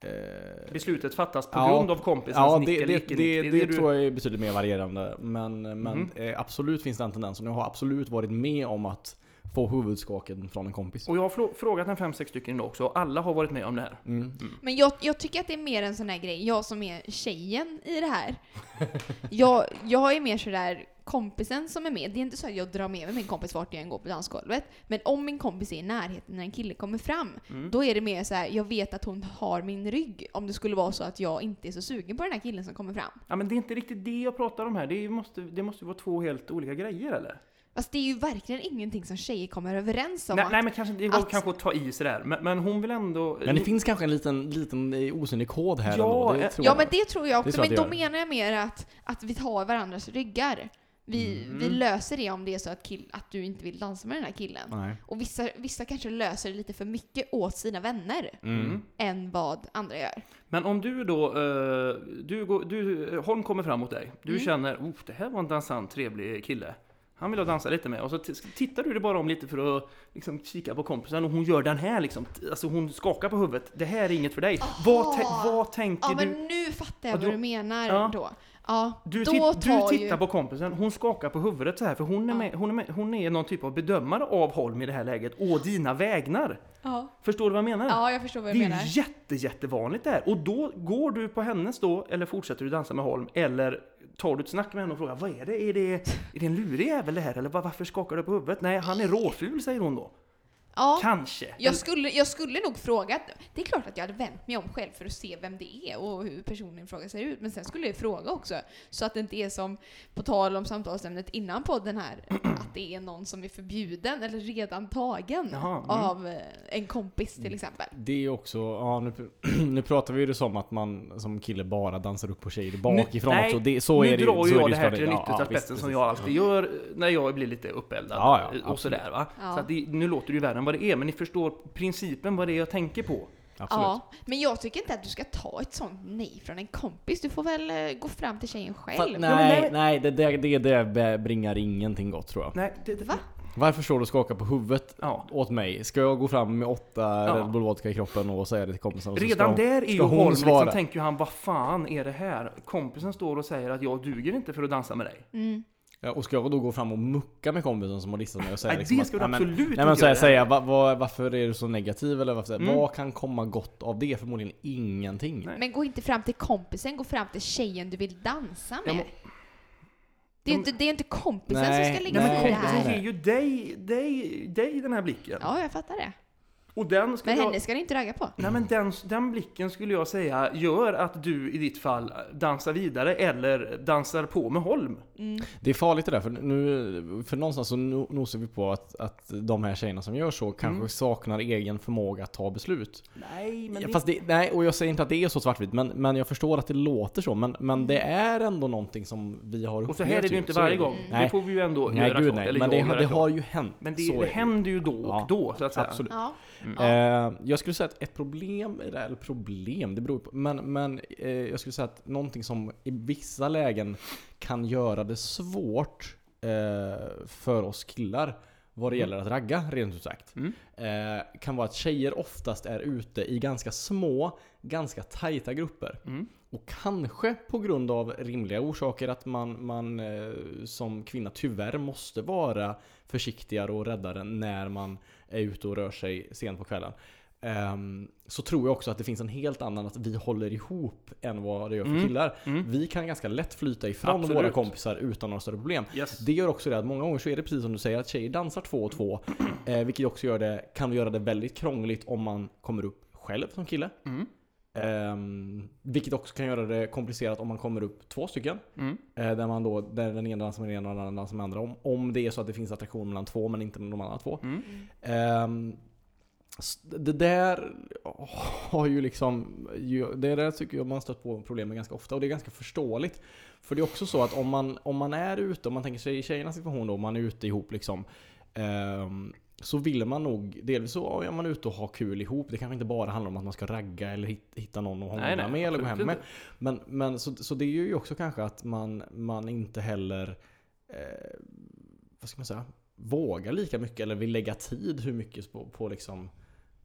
eh,
beslutet fattas på
Ja.
grund av kompisens
Ja,
nick
det,
eller
det,
icke-nick?
det,
är Mhm.
det
du-
tror jag är betydligt mer varierande. Men, men eh, absolut finns den tendensen. Jag har absolut varit med om att få huvudskaken från en kompis.
Och jag har frå- frågat en fem, sex stycken idag också, och alla har varit med om det här.
Mm.
Men jag, jag tycker att det är mer en sån här grej, jag som är tjejen i det här. Jag, jag är mer sådär kompisen som är med. Det är inte så att jag drar med mig min kompis vart jag än går på dansgolvet. Men om min kompis är i närheten när en kille kommer fram,
Mm.
då är det mer så här: jag vet att hon har min rygg. Om det skulle vara så att jag inte är så sugen på den här killen som kommer fram.
Ja, men det är inte riktigt det jag pratar om här. Det, är, måste, det måste vara två helt olika grejer, eller?
Fast det är ju verkligen ingenting som tjejer kommer överens om.
Nej,
att-
nej, men kanske, det går
att-
kanske att ta i sådär. Men, men hon vill ändå...
Men det finns kanske en liten, liten eh, osynlig kod här
Ja,
ändå. Det
eh,
tror
Ja
jag.
men det tror jag
Det
också,
tror jag
men då
att det
menar jag mer att, att vi tar varandras ryggar. Vi, vi
Mm.
löser det om det är så att, kill, att du inte vill dansa med den här killen.
Nej.
Och vissa, vissa kanske löser det lite för mycket åt sina vänner
Mm.
än vad andra gör.
Men om du då, eh, du går, du, eh, Holm kommer fram mot dig. Du
Mm.
känner, oh, det här var en dansant, trevlig kille. Han vill jag dansa lite med. Och så t- tittar du dig bara om lite för att liksom, kika på kompisen och hon gör den här liksom. T- Alltså hon skakar på huvudet. Det här är inget för dig. Vad, te- vad tänker
Ja
du?
men nu fattar jag
Ja,
vad
då-
du menar
ja.
då. Ja,
Du,
då
tit- du
tar
tittar
ju...
på kompisen, hon skakar på huvudet så här för hon är,
Ja.
med, hon, är med, hon är någon typ av bedömare av Holm i det här läget, å dina vägnar.
Ja.
Förstår du vad jag menar?
ja, jag förstår vad du
det är
menar.
ju jätte, jättevanligt det här. Och då går du på hennes då, eller fortsätter du dansa med Holm, eller tar du ett snack med henne och frågar vad är det? Är det, är det en lurig jävel det här? Eller "Var- varför skakar du på huvudet? Nej, han är råful säger hon då.
Ja.
Kanske.
Jag skulle, jag skulle nog fråga, det är klart att jag hade vänt mig om själv för att se vem det är och hur personen i fråga ser ut, men sen skulle jag fråga också. Så att det inte är som, på tal om samtalsämnet innan podden här, att det är någon som är förbjuden eller redan tagen
Jaha, mm.
av eh, en kompis till exempel.
Det är också, ja nu, nu pratar vi ju det som att man som kille bara dansar upp på tjejer
Nu-
bakifrån
nej,
också. Det, så
nu
är det ju-
drar
så är
jag
ju
det här
stadigt.
till den yttersta
Ja, ja, visst,
spetsen som
precis.
jag alltid gör när jag blir lite uppeldad.
Ja, ja,
och
absolut.
sådär va.
Ja.
Så att det, nu låter det ju värre än vad det är, men ni förstår principen vad det är jag tänker på.
Absolut.
Ja, men jag tycker inte att du ska ta ett sånt nej från en kompis. Du får väl eh, gå fram till tjejen själv.
Fast,
Ja, men
nej,
nej.
nej, det, det, det, det bringar ingenting gott tror jag.
Nej, det, det,
Va?
Varför står du och skakar på huvudet
Ja.
åt mig? Ska jag gå fram med åtta
Ja.
Red Bull Vodka i kroppen och säga det till kompisen? Och så
Redan
ska hon-
där är
ska
ju
hon
Holm, liksom,
svara?
tänker ju han, vad fan är det här? Kompisen står och säger att jag duger inte för att dansa med dig.
Mm.
Ja, och ska jag då gå fram och mucka med kompisen som har dissat mig och säga
Nej,
liksom
det ska du
nej, men-
absolut
Nej men
inte
så här,
göra.
säga, va, va, varför är du så negativ eller varför,
Mm.
vad kan komma gott av det? Förmodligen ingenting.
Nej.
Men gå inte fram till kompisen, gå fram till tjejen du vill dansa
Jag
med.
må-
det, är ju inte, det är inte kompisen som
Nej,
ska lägga
Nej,
Nej,
sig
men
i det här.
kompisen
nej.
ger ju dig, dig, dig den här blicken.
Ja, jag fattar det.
Och den skulle
Men
jag...
henne ska du inte ragga på.
Nej men den, den blicken skulle jag säga gör att du i ditt fall dansar vidare eller dansar på med Holm.
Det är farligt det där, för, nu, för någonstans så no- nosar vi på att, att de här tjejerna som gör så kanske
Mm.
saknar egen förmåga att ta beslut.
Nej
Ja, Fast det, nej, och jag säger inte att det är så svartvitt, men, men jag förstår att det låter så. Men, men det är ändå någonting som vi har upplevt.
Mm. Och så här är det ju inte
typ, så
varje
det.
gång. Det
Nej,
får vi ju ändå
nej
göra
gud
klart,
nej.
eller
Men
jag
det,
göra
det
klart.
har ju hänt.
Men det,
så är
det händer ju då och
Ja,
då så att säga.
Absolut.
Ja.
Eh, jag skulle säga att ett problem, i det här- eller problem, det beror ju på. Men, men eh, jag skulle säga att någonting som i vissa lägen kan göra det svårt eh, för oss killar vad det gäller att ragga, rent ut sagt.
Mm.
Eh, kan vara att tjejer oftast är ute i ganska små, ganska tajta grupper.
Mm.
Och kanske på grund av rimliga orsaker att man, man eh, som kvinna tyvärr måste vara försiktigare och räddare när man är ute och rör sig sent på kvällen. Ehm, så tror jag också att det finns en helt annan att vi håller ihop än vad det gör för
Mm.
killar.
Mm.
Vi kan ganska lätt flyta ifrån
Absolut.
våra kompisar utan några större problem.
Yes.
Det gör också det att många gånger så är det precis som du säger att tjejer dansar två och två. Eh, vilket också gör det, kan göra det väldigt krångligt om man kommer upp själv som kille.
Mm.
Ehm, vilket också kan göra det komplicerat om man kommer upp två stycken.
Mm.
Eh, där man då, där den ena dansar med den ena och den andra dansar med den andra. Om, om det är så att det finns attraktion mellan två men inte mellan de andra två.
Mm.
Ehm, s- det där har ju liksom, ju- det där tycker jag man stött på problem med ganska ofta och det är ganska förståeligt. För det är också så att om man, om man är ute, om man tänker sig i tjejernas situation då, om man är ute ihop liksom. ehm, så vill man nog, delvis så är man ute och har kul ihop. Det kanske inte bara handlar om att man ska ragga eller hit- hitta någon att hångla
Nej, nej,
med eller gå hem
absolut
med.
inte.
Men, men så, så det är ju också kanske att man, man inte heller eh, vad ska man säga, vågar lika mycket eller vill lägga tid hur mycket på, på liksom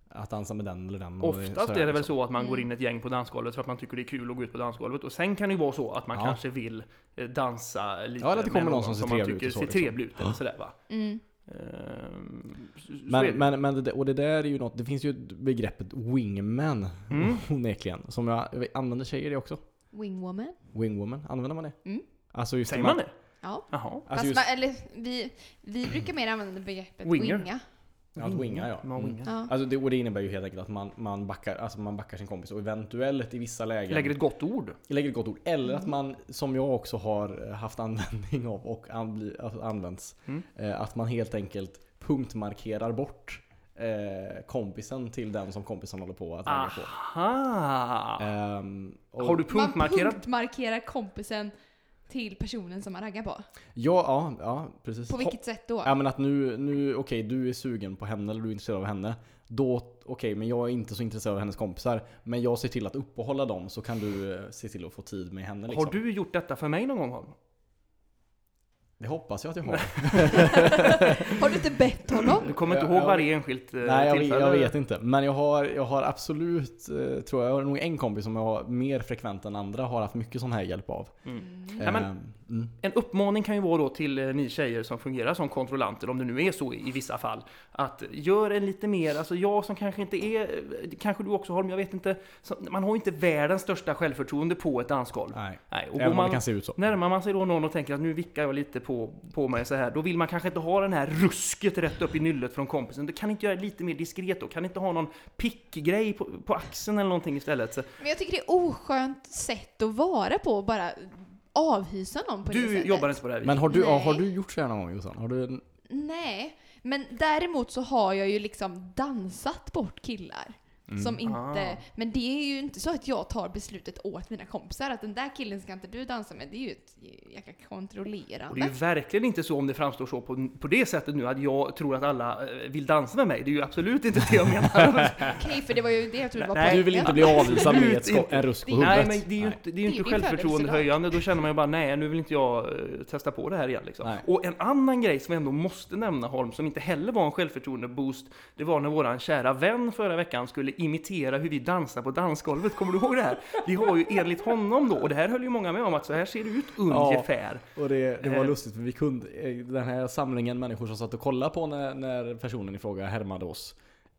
att dansa med den eller den. och
Oftast
sådär
är det väl
liksom.
så att man går in ett gäng på dansgolvet för att man tycker det är kul att gå ut på dansgolvet. Och sen kan det ju vara så att man
Ja.
kanske vill eh, dansa lite
Ja, eller att det
med
kommer någon som ser
man
trevlig ut
tycker
och så,
ser
liksom.
trevlig ut eller sådär va.
Mm.
Ehm, så- så är det ju.
Men, men, men det, och det där är ju något, det finns ju ett begreppet wingman
Mm.
onekligen. Som jag, jag använder tjejer det också.
Wingwoman.
Alltså Wingwoman, använder man det?
Mm.
Alltså just
Säger man det?
Ja.
Jaha.
Alltså
Fast
just,
man, eller, vi, vi brukar mer använda begreppet
Winger.
winga.
ja, att winga ja.
Man
Mm.
wingar.
Ja.
Alltså det, och det innebär ju helt enkelt att man, man, backar, alltså man backar sin kompis och eventuellt i vissa lägen
Lägger ett gott ord.
lägger ett gott ord. Eller
Mm.
att man, som jag också har eh, haft användning av och an, alltså använts,
Mm.
eh, att man helt enkelt punktmarkerar bort eh, kompisen till den som kompisen håller på att ragga på.
Aha!
Ehm, och-
Har du
Man
punktmarkerat?
punktmarkerar kompisen till personen som man raggar på.
Ja, ja, ja precis.
På
Ho-
vilket sätt då?
Ja men att nu, nu okej du är sugen på henne eller du är intresserad av henne. Då, okej men jag är inte så intresserad av hennes kompisar. Men jag ser till att uppehålla dem så kan du eh, se till att få tid med henne liksom.
Har du gjort detta för mig någon gång Holm?
Det hoppas jag att jag har.
Har du inte bett honom?
Du kommer inte
Ja,
ihåg
ja.
varje enskilt eh,
Nej jag, vet-
tillfälle?
jag vet inte. Men jag har, jag har absolut, eh, tror jag, jag har nog en kompis som jag har mer frekvent än andra har haft mycket sån här hjälp av.
Ja, men-
Ehm, mm.
En uppmaning kan ju vara då till eh, ni tjejer som fungerar som kontrollanter, om det nu är så i i vissa fall, att gör en lite mer, alltså jag som kanske inte är, eh, kanske du också Holm, jag vet inte, så- man har ju inte världens största självförtroende på ett dansgolv.
Nej.
Nej, och
Även
går
om det
man,
kan se ut så.
närmar man sig då någon och tänker att nu vickar jag lite på, på mig så här, då vill man kanske inte ha den här rusket rätt upp i nyllet från kompisen. Du kan inte göra det lite mer diskret då? Kan inte ha någon pickgrej på, på axeln eller någonting istället? Så,
Men jag tycker det är oskönt sätt att vara på, bara avhysa någon på det
du
sättet.
jobbar inte på det här viset?
Men har du, ja,
Nej.
har du gjort så här någon gång Jossan? Har du,
Nej, men däremot så har jag ju liksom dansat bort killar. Som inte,
Ah.
Men det är ju inte så att jag tar beslutet åt mina kompisar att den där killen ska inte du dansa med. Det är ju ett jäkla
Och det är
kontrollerande.
ju verkligen inte så om det framstår så på, på det sättet nu att jag tror att alla eh, vill dansa med mig. Det är ju absolut inte det jag menar.
Okej, för det var ju det jag trodde var
Nej.
Du vill inte bli avvisad med ett
Absolut
skott, en rusk på
inte.
nej,
huvudet.
men det är ju inte, det är ju
Det är
inte
din fördel
självförtroendehöjande. Då känner man ju bara nej, nu vill inte jag eh, testa på det här igen. Liksom.
Nej.
Och en annan grej som jag ändå måste nämna Holm, som inte heller var en självförtroendeboost, det var när våran kära vän förra veckan skulle imitera hur vi dansar på dansgolvet. Kommer du ihåg det här? Vi har ju enligt honom då, och det här höll ju många med om, att så här ser det ut ungefär.
Och det, det var
Eh.
lustigt för vi kunde, eh, den här samlingen människor som satt och kollade på när, när personen i fråga härmade oss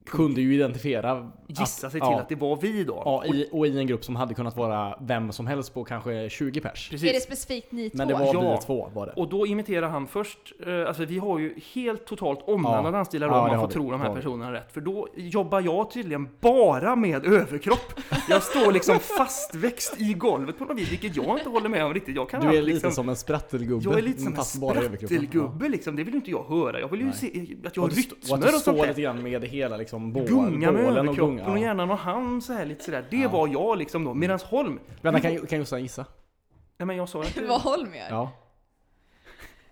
kunde ju identifiera
Gissa sig till
ja,
att det var vi då.
Ja, i, och i en grupp som hade kunnat vara vem som helst på kanske 20 pers.
Precis.
Är det specifikt ni två?
Men det var
Ja.
vi två var det.
Och då imiterar han först, eh, alltså vi har ju helt totalt omvandlade
Ja.
dansstilar då,
Ja,
om
det
man
har
får
vi.
tro de
Det
här
har vi.
personerna rätt. För då jobbar jag tydligen bara med överkropp. Jag står liksom fastväxt i golvet på något vis, vilket jag inte håller med om riktigt. Jag kan
Du är
allt
lite
liksom,
som en sprattelgubbe.
jag är lite som en
fast bara i överkroppen. Ja.
sprattelgubbe liksom, det vill inte jag höra. Jag vill ju
Nej.
se att jag
Och
har
att du, och att du
rytmer och sånt
står lite
där.
grann med hela liksom bål,
Gunga med
bålen och
överkroppen
gunga.
och
Ja.
hjärnan och hand så här lite sådär. Det var jag liksom då. Medan Holm,
Vänta, kan, kan Jossan gissa?
nej men jag sa att
Vad Holm gör?
Ja.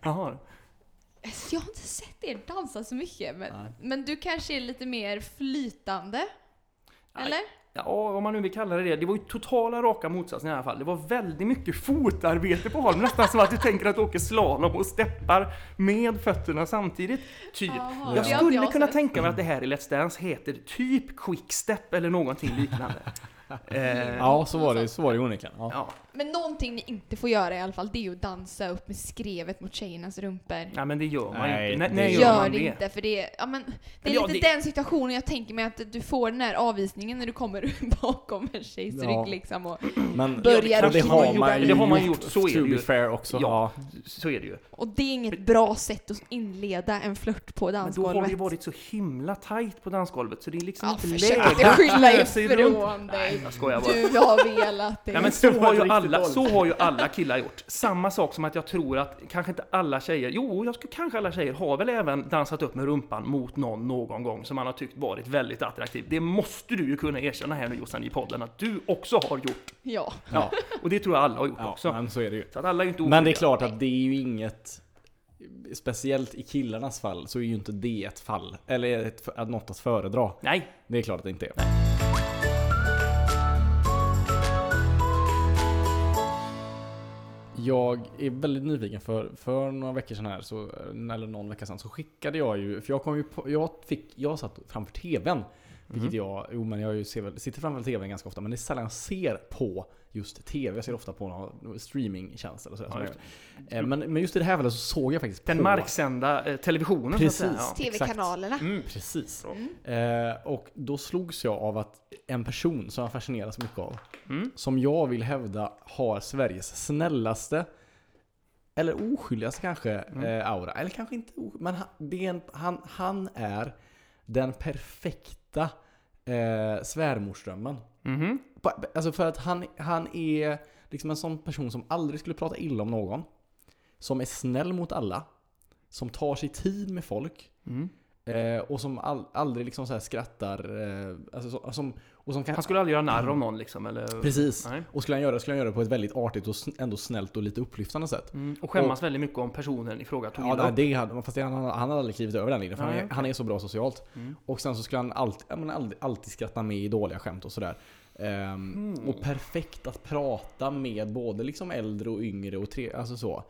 Jaha.
Alltså, Jag har inte sett er dansa så mycket,
Nej.
men, men du kanske är lite mer flytande?
Nej.
typ.
Eller?
Ja, om man nu vill kalla det det. Det var ju totala raka motsatsen i alla fall. Det var väldigt mycket fotarbete på Holm. Nästan som att du tänker att du åker slalom och steppar med fötterna samtidigt. Typ.
Jaha, det
Jag
har inte
skulle
jag
kunna
sett.
tänka mig att det här i Let's Dance heter typ quickstep eller någonting liknande. eh, ja.
ja, så var det, så var det onekligen. Ja.
Ja.
Men någonting ni inte får göra i alla fall, det är ju att dansa upp med skrevet mot tjejernas rumpor.
Nej, men det gör man
Nej,
ju inte. Nej,
det
nej,
gör
gör,
Gör
man
det
det?
inte, för det är, ja, men, det är
Ja,
lite
det-
den situationen jag tänker mig att du får den här avvisningen när du kommer bakom en tjejs
Ja.
rygg liksom. Och,
Men
Börjar
men det,
också
har
man
man
gjort.
ju
Det har man
gjort,
gjort, så är
to
det
be
ju.
fair också.
Ja. Så är det ju.
och det är inget bra sätt att inleda en flört på
Men då har det ju
dansgolvet.
varit så himla tajt på dansgolvet så det är liksom
Ja,
inte
försök
läge
inte skylla
ösa i runt.
ifrån dig.
Jag skojar bara.
Du har velat det.
Ja, men så, har ju
riktigt
alla,
dåligt.
så har ju alla killar gjort. Samma sak som att jag tror att kanske inte alla tjejer, jo, jag skulle, kanske alla tjejer har väl även dansat upp med rumpan mot någon någon gång som man har tyckt varit väldigt attraktiv. Det måste du ju kunna erkänna här nu Jossan i podden att du också har gjort.
Ja.
Ja.
Och det tror jag alla har gjort
Ja,
också.
men så är det ju.
Så att alla är ju inte
Men det är
oskyldiga.
klart att det är ju inget Speciellt i killarnas fall så är ju inte det ett fall Eller ett, att något att föredra
Nej,
Det är klart att det inte är Jag är väldigt nyfiken för, för några veckor sedan här, så, eller någon vecka sedan, så skickade jag ju, för jag kom ju på, jag fick, jag satt framför TVn. Vilket
Mhm.
jag, jo men jag ju ser väl, sitter framför TVn ganska ofta men det är sällan jag ser på just TV. Jag ser ofta på någon streamingtjänst eller sådär. som
Ja,
jag gör. Eh, men, men just i det här fallet så såg jag faktiskt
den
på...
marksända eh, televisionen så att säga,
Precis.
Ja.
TV-kanalerna.
Mm.
Precis. Eh, och då slogs jag av att en person som jag fascineras mycket av,
Mm.
som jag vill hävda har Sveriges snällaste, eller oskyldigaste kanske, eh, aura. Eller kanske inte oskyldig, men han, det är en, han, han är den perfekta eh, svärmorsdrömmen.
Mhm.
På- Alltså för att han, han är liksom en sån person som aldrig skulle prata illa om någon. Som är snäll mot alla. Som tar sig tid med folk.
Mm.
Eh, och som all, aldrig liksom så här skrattar. Eh, alltså så, som, och som kan,
Han skulle aldrig göra narr av någon liksom, eller?
Precis.
Nej.
Och skulle han göra det skulle han göra det på ett väldigt artigt och sn- ändå snällt och lite upplyftande sätt.
Mm. Och skämmas väldigt mycket om personen i fråga tog
Ja,
illa
nej,
upp.
det hade, fast det, han, han hade aldrig klivit över den linjen. För han,
Nej,
är,
okej.
han är så bra socialt.
Mm.
Och sen så skulle han alltid, ja, men alltid, alltid skratta med i dåliga skämt och sådär. Ehm,
Mm.
Och perfekt att prata med både liksom äldre och yngre och tre, alltså så.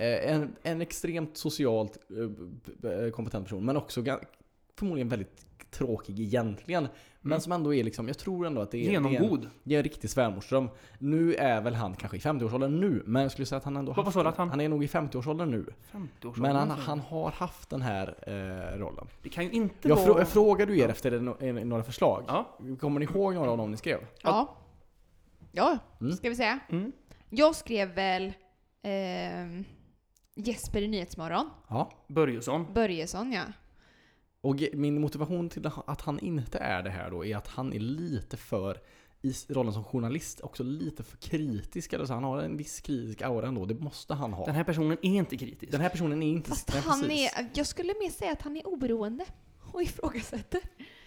Eh, en, en extremt socialt eh, b- b- kompetent person men också ga- förmodligen väldigt tråkig egentligen. Men som ändå är liksom, jag tror ändå att det är, Det är en,
Mm. Genomgod.
det är en riktig svärmorsdröm. Nu är väl han kanske i 50-årsåldern nu, men jag skulle säga att han ändå...
Vad
haft
sa du
den-
att han-
Han är nog i 50-årsåldern nu.
50-årsåldern.
Men han, han har haft den här eh, rollen.
Det kan ju inte
Jag,
vara...
frå, jag frågade ju er efter no- en- några förslag.
Ja.
Kommer ni ihåg några av dem ni skrev?
Ja. Ja,
Mm.
ska vi säga.
Mm.
Jag skrev väl ehm, Jesper i Nyhetsmorgon.
Ja.
Börjesson.
Börjesson ja.
Och ge- min motivation till att han inte är det här då är att han är lite för, i s- rollen som journalist, också lite för kritisk. Eller så han har en viss kritisk aura ändå, det måste han ha.
Den här personen är inte kritisk.
Den här personen är inte...
Fast
nej,
han
precis.
är, jag skulle mer säga att han är oberoende och ifrågasätter.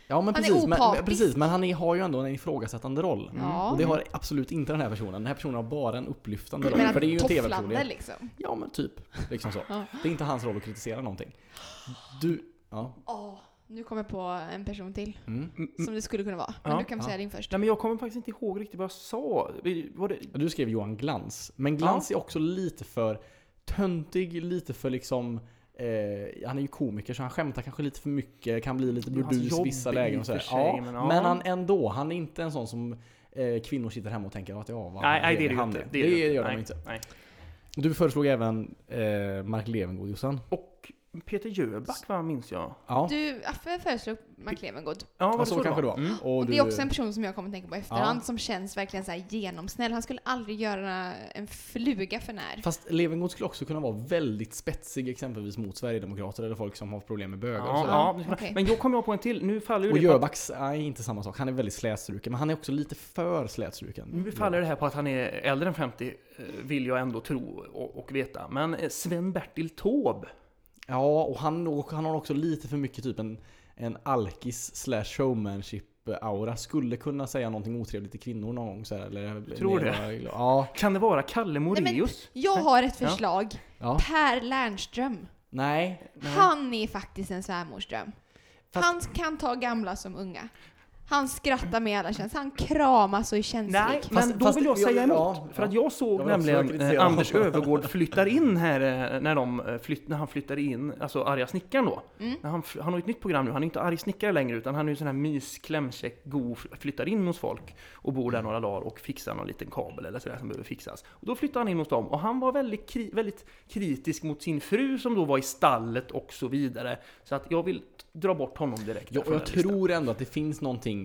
Ja men
Han är
precis, men, men-
opartisk.
precis, men han är, har ju ändå en ifrågasättande roll.
Ja.
Mm, Och det har absolut inte den här personen. Den här personen har bara en upplyftande roll.
Men
För det är ju en
att tofflande
tv-personlighet.
liksom.
Ja men typ. Liksom så.
Ja.
Det är inte hans roll att kritisera någonting. Du, ja.
Åh, nu kommer jag på en person till
Mm.
som det skulle kunna vara. Men
Ja,
du kan
ja.
väl säga din först.
Nej men jag kommer faktiskt inte ihåg riktigt vad jag sa. Vi- Var det...
Du skrev Johan Glans. Men Glans är också lite för töntig, lite för liksom Eh, han är ju komiker så han skämtar kanske lite för mycket, kan bli lite
Hans
burdus i
jobb
vissa
alltså i
lägen och
och för
sådär.
sig,
ja, men,
men ja.
han ändå, han är inte en sån som eh, kvinnor sitter hemma och tänker att ja, vad
Nej, nej, det är det ju
han
inte.
Det,
ju
gör de
Nej,
inte.
Nej.
Du föreslog även eh, Mark Levengood Jossan.
Och Peter Jöback va, minns jag.
Ja,
Du, Affe föreslog Mark Levengood.
Ja, var
ja,
det
så kanske det
Mm.
var. Och
Det
du-
är också en person som jag kommer att tänka på i efterhand
Ja.
som känns verkligen så här genomsnäll. Han skulle aldrig göra en fluga för när.
Fast Levengood skulle också kunna vara väldigt spetsig exempelvis mot Sverigedemokrater eller folk som har problem med bögar och
Ja,
sådär.
ja,
Okej.
Men jag kom jag på en till. Nu faller ju
Och
det på att,
Jöbacks är inte samma sak. Han är väldigt slätstruken, men han är också lite för slätstruken.
nu faller det här på att han är äldre än 50, eh, vill jag ändå tro och, och veta. Men eh, Sven-Bertil Taube.
Ja, och han, och han har också lite för mycket typ en, en alkis slash showmanship-aura. Skulle kunna säga någonting otrevligt till kvinnor någon gång så här, eller,
Tror
det? Ja,
Kan det vara Kalle
men-
Moreus?
Jag har ett förslag.
ja.
Per Lernström.
Nej.
Han är faktiskt en svärmorsdröm.
Fast-
Han kan ta gamla som unga. Han skrattar med alla känslor. Han kramas och är känslig.
Nej,
Fast-
men då
fast
vill jag
jag-
säga emot.
ja,
för
ja.
att jag såg
Jag vill också
nämligen
kritisera
eh,
honom.
Anders Övergård flyttar in här eh, när, de, eh, flytt, när han flyttar in, alltså arga snickaren då. När han, f- han har ju ett nytt program nu, han är inte arg snickare längre utan han är ju sån här mys, klämkäck, go, f- flyttar in hos folk och bor
Mm.
där några dagar och fixar någon liten kabel eller sådär som behöver fixas. Och då flyttar han in hos dem och han var väldigt, kri, väldigt kritisk mot sin fru som då var i stallet och så vidare. Så att jag vill dra bort honom direkt.
Jag,
från
och jag
den listan.
tror ändå att det finns någonting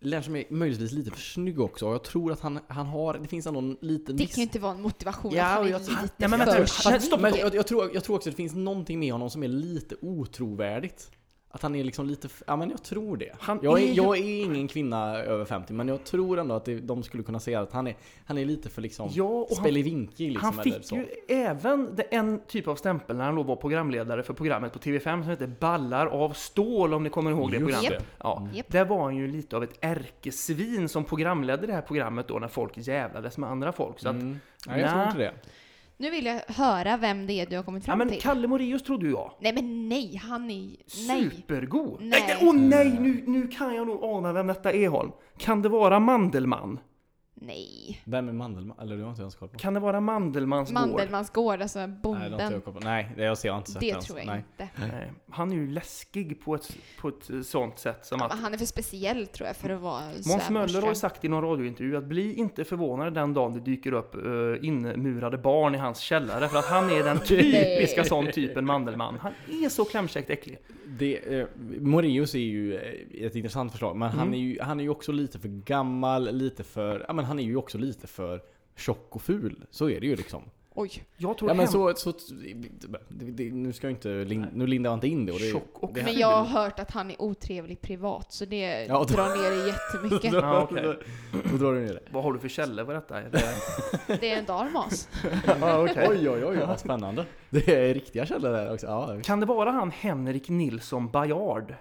Lennart är möjligtvis lite för snygg också. Och Jag tror att han, han har, det finns ändå en liten
Det
viss-
kan ju inte vara en motivation
Ja,
att han
och
är
jag-
lite
Nej,
men
för
vänta,
snygg.
stopp, stopp, stopp.
Men jag, jag, tror, jag tror också att det finns någonting med honom som är lite otrovärdigt. Att han är liksom lite, f- ja men jag tror det.
Han
jag, är,
är ju-
jag är ingen kvinna över 50 men jag tror ändå att det, de skulle kunna säga att han är, han är lite för liksom
Ja, och han-
spelivinkig liksom.
han
eller
fick
så.
ju även det- en typ av stämpel när han då var programledare för programmet på TV5 som heter Ballar av stål om ni kommer ihåg det
Just
programmet.
det. Mm.
Ja.
Japp.
Där var han ju lite av ett ärkesvin som programledde det här programmet då när folk jävlades med andra folk. Så att,
Mm. Nej, jag tror
Nä.
inte det.
Nu vill jag höra vem det är du har kommit
Ja
fram
men
till.
Kalle Moraeus trodde ju jag.
Nej men nej, han är... Nej.
Supergod!
Nej.
Nej. Åh nej, nu, nu kan jag nog ana vem detta är Holm. Kan det vara Mandelmann?
Nej.
Vem är Mandelman? Eller du har inte ens koll på?
Kan det vara Mandelmans gård?
Mandelmans gård, alltså
Nej, det har inte
bonden.
jag koll på. Nej, det- jag ser jag har inte sett
Det
ens.
tror jag
Nej.
inte.
Nej. Han är ju läskig på ett, på ett sånt sätt som
Ja,
att
men han är för speciell tror jag för att vara
Måns Möller har
svärmorsdröm.
ju sagt i någon radiointervju att bli inte förvånad den dagen det dyker upp eh, inmurade barn i hans källare för att han är den typiska sån typen Mandelmann. Han är så klämkäckt äcklig.
Det, eh, Moreus är ju eh, ett intressant förslag, men han, är ju, han är ju också lite för gammal, lite för... Ja men han är ju också lite för tjock och ful. Så är det ju liksom.
Oj.
Jag tror
Ja men
hem-
så... så det, det, nu ska jag inte... lin- Nu lindar jag inte in det. Och det
Tjock och
det,
Men jag har hört att han är otrevlig privat, så det
Ja, då-
drar ner det jättemycket.
Ja, okej.
Då drar du ner det.
Vad har du för källor på detta? Är det-
Det är en dalmas.
Ja, okej.
Oj, oj, oj, vad spännande. Det är riktiga källor där också. Ja,
Kan det vara han Henrik Nilsson Bajard?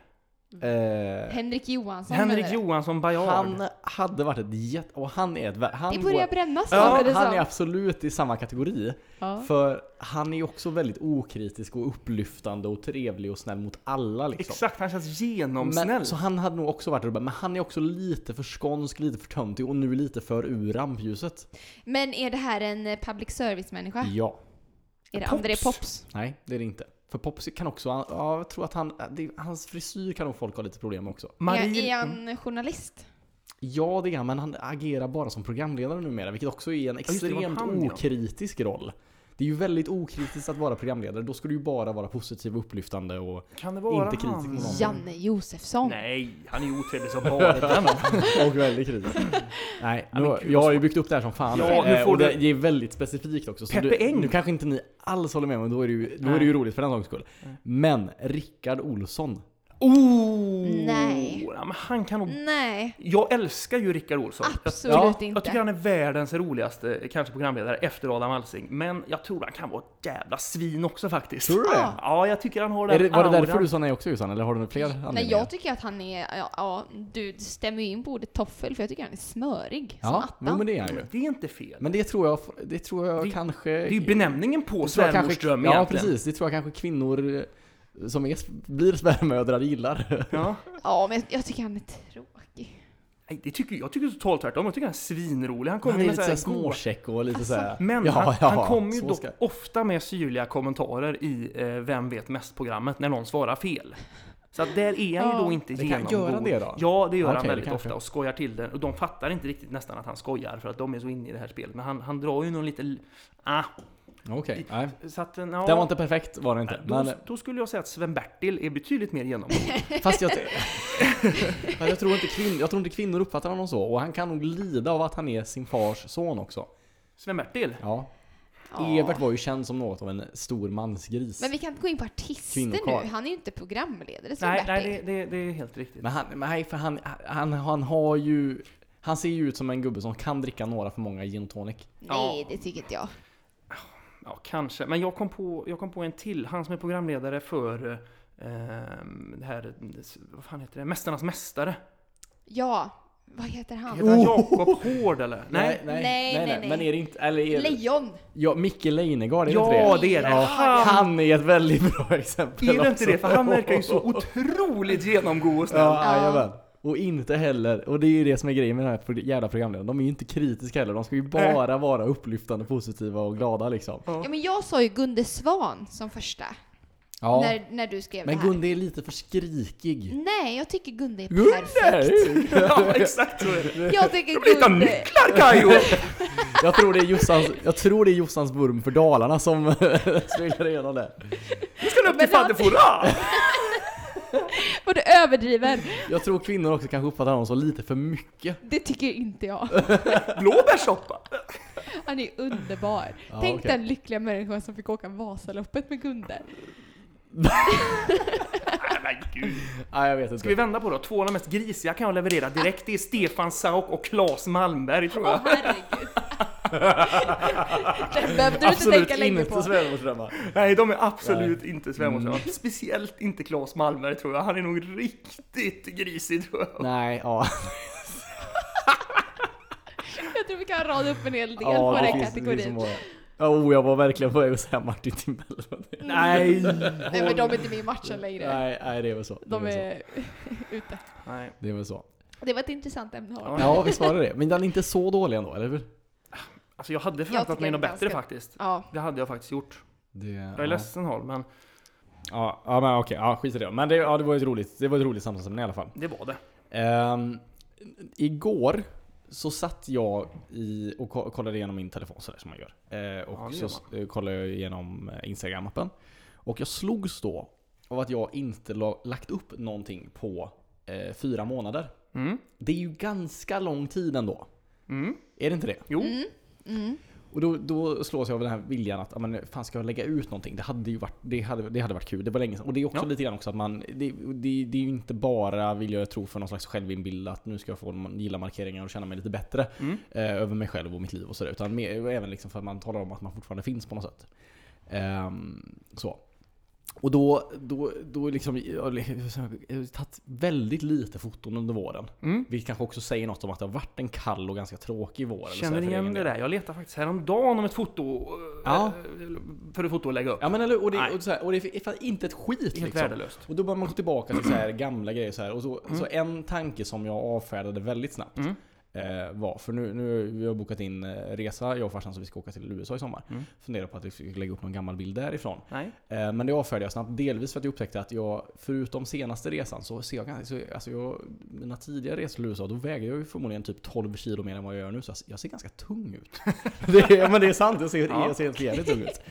eh,
Henrik Johansson
Henrik
menar jag.
Johansson Bajard?
han hade varit ett jätte... Och han är ett... vä- Han
Det börjar
går-
brännas
Ja,
snart, det
han
som.
är absolut i samma kategori.
Ja.
För han är ju också väldigt okritisk och upplyftande och trevlig och snäll mot alla liksom.
Exakt, han känns genomsnäll.
Men, så han hade nog också varit rubbad, men han är också lite för skånsk, lite för töntig och nu lite för ur rampljuset.
Men är det här en eh, public service-människa?
Ja.
Är det
Pops.
André Pops?
Nej, det är det inte. För Popsy kan också, ja, jag tror att han, det, hans frisyr kan nog folk ha lite problem med också.
Är,
Marie... Mm.
är han journalist?
Ja, det är han, men han agerar bara som programledare numera, vilket också är en
det, det var
extremt
han, ja.
okritisk roll. Det är ju väldigt okritiskt att vara programledare, då ska du ju bara vara positiv och upplyftande och
Kan det vara
Inte kritisk
han?
mot någon.
Janne Josefsson?
Nej, han är ju otrevlig som bara den.
Och väldigt kritisk. Nej,
men
nu,
gud,
jag
vad
har ju byggt upp det här som fan.
Ja, nu
Eh,
får
och det,
du-
det är väldigt specifikt också. Så
Peppe
du,
Eng.
nu kanske inte ni alls håller med men då är det ju, då är det ju roligt för den sakens skull. Men Rickard Olsson.
Oh!
Nej.
svåra, men han kan nog...
Nej,
Jag älskar ju Rickard Olsson. Jag,
absolut
Ja,
inte.
jag tycker han är världens roligaste, kanske programledare, efter Adam Alsing. Men jag tror han kan vara ett jävla svin också faktiskt.
Tror du det?
Ja.
Ja, jag tycker han har
Är
den
det, var det därför
auran.
du sa nej också Jossan, eller har du några fler anledningar?
Nej, jag tycker att han är, ja, ja du det stämmer ju in på ordet toffel för jag tycker han är smörig som
Ja,
attan.
men, men det är han ju.
Men Det är inte fel.
Men det tror jag, det tror jag
Det-
kanske...
Det är ju benämningen på
det tror jag kanske-
svärmorsdröm
Ja,
egentligen.
precis. Det tror jag kanske kvinnor eh, som är, blir svärmödrar gillar.
Ja.
Ja, men jag tycker han är tråkig.
Nej, det tycker, jag tycker totalt tvärtom. Jag tycker han är svinrolig. Han kommer
Han är
med
lite
så här
såhär
goa-
småcheck och lite
Alltså,
såhär...
Men
Ja,
han,
ja,
han kommer ju
så
dock
ska-
ofta med syrliga kommentarer i eh, Vem vet mest-programmet när någon svarar fel. Så att där är han ju
Ja.
då inte
Det kan-
genomgod.
gör han det då?
Ja, det gör han
Okej,
väldigt
kanske.
ofta och skojar till den. Och de fattar inte riktigt nästan att han skojar för att de är så inne i det här spelet. Men han, han drar ju någon lite... Ah,
Okej, nej.
så att... eh, Ja,
Den var inte perfekt var den inte.
då,
Men,
då skulle jag säga att Sven-Bertil är betydligt mer genomgod.
fast jag, men jag, tror inte kvin, jag tror inte kvinnor uppfattar honom så. Och han kan nog lida av att han är sin fars son också.
Sven-Bertil?
Ja.
Ja.
Evert var ju känd som något av en stor mansgris.
Men vi kan inte gå in på artister
Kvinnokarl.
nu, han är ju inte programledare som
Nej,
Bertil.
nej det, det, det är helt riktigt.
Men han, men nej, för han, han, han har ju... Han ser ju ut som en gubbe som kan dricka några för många gin och tonic.
Nej,
Ja.
det tycker inte jag.
Ja, kanske. Men jag kom, på, jag kom på en till. Han som är programledare för eh, det här, vad fan heter det? Mästarnas Mästare.
Ja, vad heter han?
Heter han
Oh!
Jakob Hård eller? Nej.
Nej, nej, nej.
Men är det inte... Eller är det,
Lejon!
ja, Micke Leijnegard, är det inte
Ja,
det?
det är det.
Ja,
Han,
Han är ett väldigt bra exempel
är det inte
också.
det? För han verkar ju så otroligt genomgod och snäll.
Ja, jajamän. Och inte heller, och det är ju det som är grejen med den här pro- jävla programledaren, de är ju inte kritiska heller, de ska ju bara vara upplyftande, positiva och glada liksom.
Ja, men jag sa ju Gunde Svan som första,
Ja.
när, när du skrev
Men
det här.
Gunde är lite för skrikig.
Nej, jag tycker Gunde är
Gunde!
perfekt.
Ja, exakt så är det.
Jag tycker
Lite av
Gunde...
nycklar Kajo!
Jag tror det är Jossans, jag tror det är Jossans vurm för Dalarna som spelar igenom det.
Nu ska ni upp till
Men han-
faddefora!
Vad du överdriver!
Jag tror kvinnor också kanske uppfattar honom som lite för mycket.
Det tycker inte jag.
Blåbärssoppa!
Han är underbar.
Ja,
Tänk
okej.
den lyckliga människan som fick åka Vasaloppet med Gunde.
Nej, men gud.
Nej, jag vet inte.
Ska vi vända på då? Två av de mest grisiga kan jag leverera direkt. Det är Stefan Sauk och Claes Malmberg tror
Åh
jag.
herregud. Den behövde du inte
Absolut
tänka länge på.
inte svärmorsdrömmar.
Nej, de är absolut inte svärmorsar.
Mm.
Speciellt inte Claes Malmberg tror jag. Han är nog riktigt grisig tror jag.
Nej, ja.
Jag tror vi kan rada upp en hel del
ja,
på
det
den
finns- det finns så
kategorin.
många. Ja, oh, jag var verkligen på väg att säga Martin Timell.
Nej!
Nej men de Mm. är inte med i matchen längre.
Nej, nej, det är väl så.
De
det är väl så.
är ute.
Nej.
Det är väl så.
Det var ett intressant ämne att ha.
Ja.
Ja, visst var det det. Men den är inte så dålig ändå, eller hur?
Alltså jag hade förväntat
tycker
mig något
det är
bättre
ganska-
faktiskt.
Ja.
Det hade jag faktiskt gjort.
Det,
Jag är ledsen Holm, men
Ja, ja men okej, ja, skit i det. Men det, ja, det var ju ett roligt, det var ett roligt samtalsämne i alla fall.
det var det.
Ehm, igår så satt jag i och ko- kollade igenom min telefon sådär som man gör. Eh,
Ja,
och
det
så
gör
s- eh, kollade jag igenom eh, Instagram-appen. Och jag slogs då av att jag inte la, lagt upp någonting på eh, fyra månader.
Mm.
Det är ju ganska lång tid ändå.
Mm.
Är det inte det?
Jo.
Mm.
Och då, då slås jag av den här viljan att, ja, men fan ska jag lägga ut någonting? Det hade ju varit, det hade, det hade varit kul, det var länge sedan. Och det är också
Ja.
lite grann också att man, det, det, det är ju inte bara, vill jag tro, för någon slags självinbild att nu ska jag få någon gilla-markeringar och känna mig lite bättre
Mm.
eh, över mig själv och mitt liv och sådär. Utan mer, även liksom för att man talar om att man fortfarande finns på något sätt. Ehm, så. Och då, då, då liksom, jag har tagit väldigt lite foton under våren.
Mm.
Vilket kanske också säger något om att det har varit en kall och ganska tråkig vår. eller så här
Känner
för egen
igen det
del.
där. Jag letar faktiskt häromdagen om ett foto. eh,
Ja.
För ett foto att lägga upp.
Ja men eller och det,
Nej.
och så här, och det är fan inte ett skit
Helt
liksom. Mm.
värdelöst.
Och då börjar man gå tillbaka till så här gamla grejer så här. Och så, så en tanke som jag avfärdade väldigt snabbt
Mm.
eh, var, för nu, nu vi har bokat in eh, resa, jag och farsan, så vi ska åka till USA i sommar.
Mm.
Funderar på att vi ska lägga upp någon gammal bild därifrån.
Nej.
Eh, men det avfärdade jag snabbt, delvis för att jag upptäckte att jag, förutom senaste resan, så ser jag ganska, så, alltså jag, mina tidigare resor till USA, då väger jag ju förmodligen typ 12 kilo mer än vad jag gör nu. Så jag, jag ser ganska tung ut. det, är- men det är sant, jag ser,
Ja.
jag ser helt jävligt tung ut.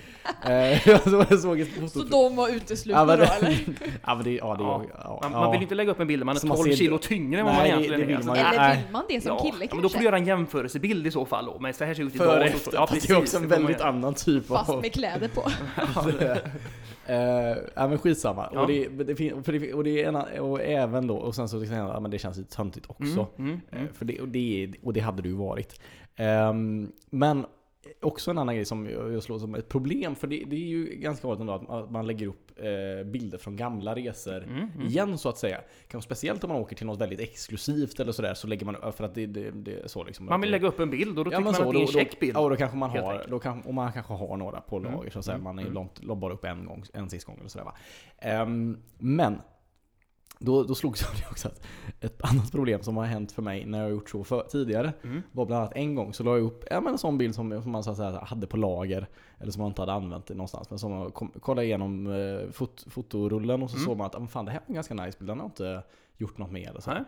Eh, jag såg, jag såg ett
Så
foto-
de var
Ja,
uteslutna
men
då
det-
eller?
Ja, men det, ja, det, ja.
Ja.
Ja,
Man, man vill ju inte lägga upp en bild där man
Så
är
man
12
ser-
kilo tyngre än vad man
Nej, det-
egentligen
det
är.
vill
Alltså,
man ju
det-
inte.
Eller
nej.
vill man det som kille
ja, men då får du
kanske?
göra en jämförelsebild i så fall då. Men så här ser det ut
Före
idag.
efter.
så- Ja,
det är också en
det får man
väldigt
göra.
annan typ
Fast
av...
med kläder på.
Eh, ja men skitsamma.
Ja.
Och, det, men det, fin- för det, och det är ena, och även då, och sen så säger han att men det känns lite töntigt också.
mm,
Eh, För det, och, det, och det hade du varit. Ehm, men också en annan grej som jag jag slår som ett problem, för det, det är ju ganska vanligt ändå att- att man lägger upp eh, bilder från gamla resor
Mm,
igen så att säga. Kanske speciellt om man åker till något väldigt exklusivt eller sådär, så lägger man för att det, det, det är så liksom.
Man vill lägga upp en bild och då tycker
Ja, men
man
så,
att det är en
då,
käck bild.
då, ja, då kanske man
helt
har,
enkelt. Mm.
då kan, och man kanske har några på lager så att säga. Man är ju långt, långt bara upp en gång, en sist gång eller sådär va. Ehm, men, då, då slogs jag av det också att ett annat problem som har hänt för mig när jag har gjort så för, tidigare
Mm.
var bland annat en gång så la jag upp ja, men en sån bild som, som man så att säga, hade på lager eller som man inte hade använt någonstans. Men som man kom, kollade igenom eh, fot, fotorullen och så
Mm.
såg man att ah, men fan, det här var en ganska nice bild, den har jag inte gjort något med. Eller så.
Nej.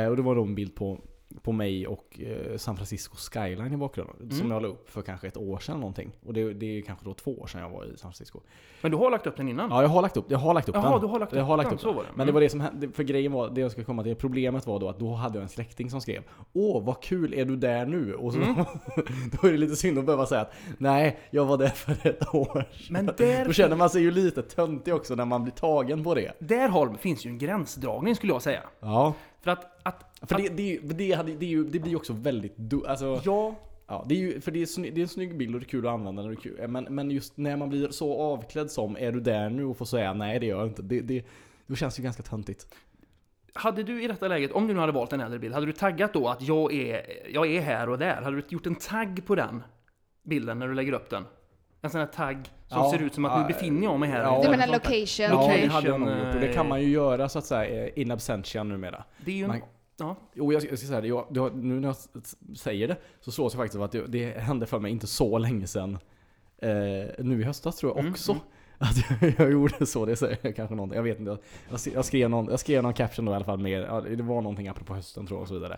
Eh, och det var då en bild på, på mig och eh, San Francisco skyline i bakgrunden.
Mm.
Som jag la upp för kanske ett år sedan någonting. Och det, det är ju kanske då två år sedan jag var i San Francisco.
Men du har lagt upp den innan?
Ja, jag har lagt upp, jag har lagt upp
Mm. Jaha,
den.
du har lagt
jag
upp
har lagt
den,
upp
så Mm.
den.
var det.
Men det var det som hände, för grejen var, det jag skulle komma till, problemet var då att då hade jag en släkting som skrev Åh, vad kul, är du där nu? Och så,
Mm.
då är det lite synd att behöva säga att nej, jag var där för ett år sedan.
Men där-
Då känner man sig ju lite töntig också när man blir tagen på det.
Där Holm finns ju en gränsdragning skulle jag säga.
Ja.
För att... att,
För
att
det, det, är ju- det, hade, det, är ju, det blir ju också väldigt du, alltså,
ja,
Ja, det är ju, för det är, sny- det är en snygg bild och det är kul att använda när det är kul. Eh, Men, men just när man blir så avklädd som är du där nu och får säga nej det gör jag inte. Det, det, då känns det ju ganska töntigt.
hade du i detta läget, om du nu hade valt en äldre bild, hade du taggat då att jag är, jag är här och där? Hade du gjort en tagg på den bilden när du lägger upp den? En sån här tagg som
Ja,
ser ut som att nu
ja,
befinner jag mig här.
ja.
Eller
Du
något
menar
sånt där.
location?
Ja, det
Location,
hade jag nog gjort. Och det kan
eh,
man ju göra så att säga eh, in absentia numera.
Det är ju en...
Man-
Ja.
Jo, jag ska jag ska säga det. Jag, det har- nu när jag s- s- säger det så slås jag faktiskt av att det, det hände för mig inte så länge sedan. Eh, nu i höstas tror jag också. Att jag, jag gjorde så, det säger jag kanske någonting. Jag vet inte. Jag, jag, skrev- jag, skrev någon, jag skrev någon caption då i alla fall med, ja, det var någonting apropå hösten tror jag och så vidare.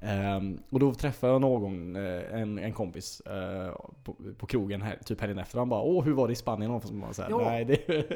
Ehm, och då träffade jag någon, eh, en, en kompis, eh, på, på krogen här, typ helgen efter. Han bara Åh, hur var det i Spanien? Och så bara så här,
Ja.
Nej, det...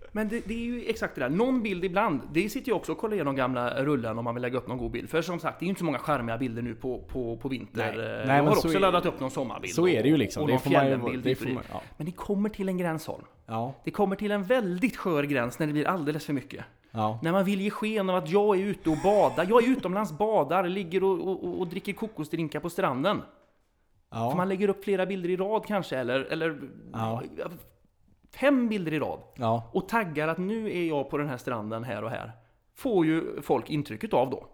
Men det, det är ju exakt det där. Någon bild ibland. Det sitter jag också och kollar igenom gamla rullen om man vill lägga upp någon god bild. För som sagt, det är ju inte så många charmiga bilder nu på, på, på vinter.
Nej.
Eh,
Nej,
jag
men
har
så
också
är-
laddat upp någon sommarbild.
så är det ju
Och
liksom.
någon
Det får man ju...
fjällenbild
Det
hit
får
och dit.
man, ja.
Men det kommer till en gräns Holm.
Ja.
Det kommer till en väldigt skör gräns när det blir alldeles för mycket.
ja.
När man vill ge sken av att jag är ute och badar. Jag är utomlands, badar, ligger och, och, och dricker kokosdrinkar på stranden.
ja.
För man lägger upp flera bilder i rad kanske, eller, eller
Ja.
fem bilder i rad.
ja.
Och taggar att nu är jag på den här stranden här och här. Får ju folk intrycket av då.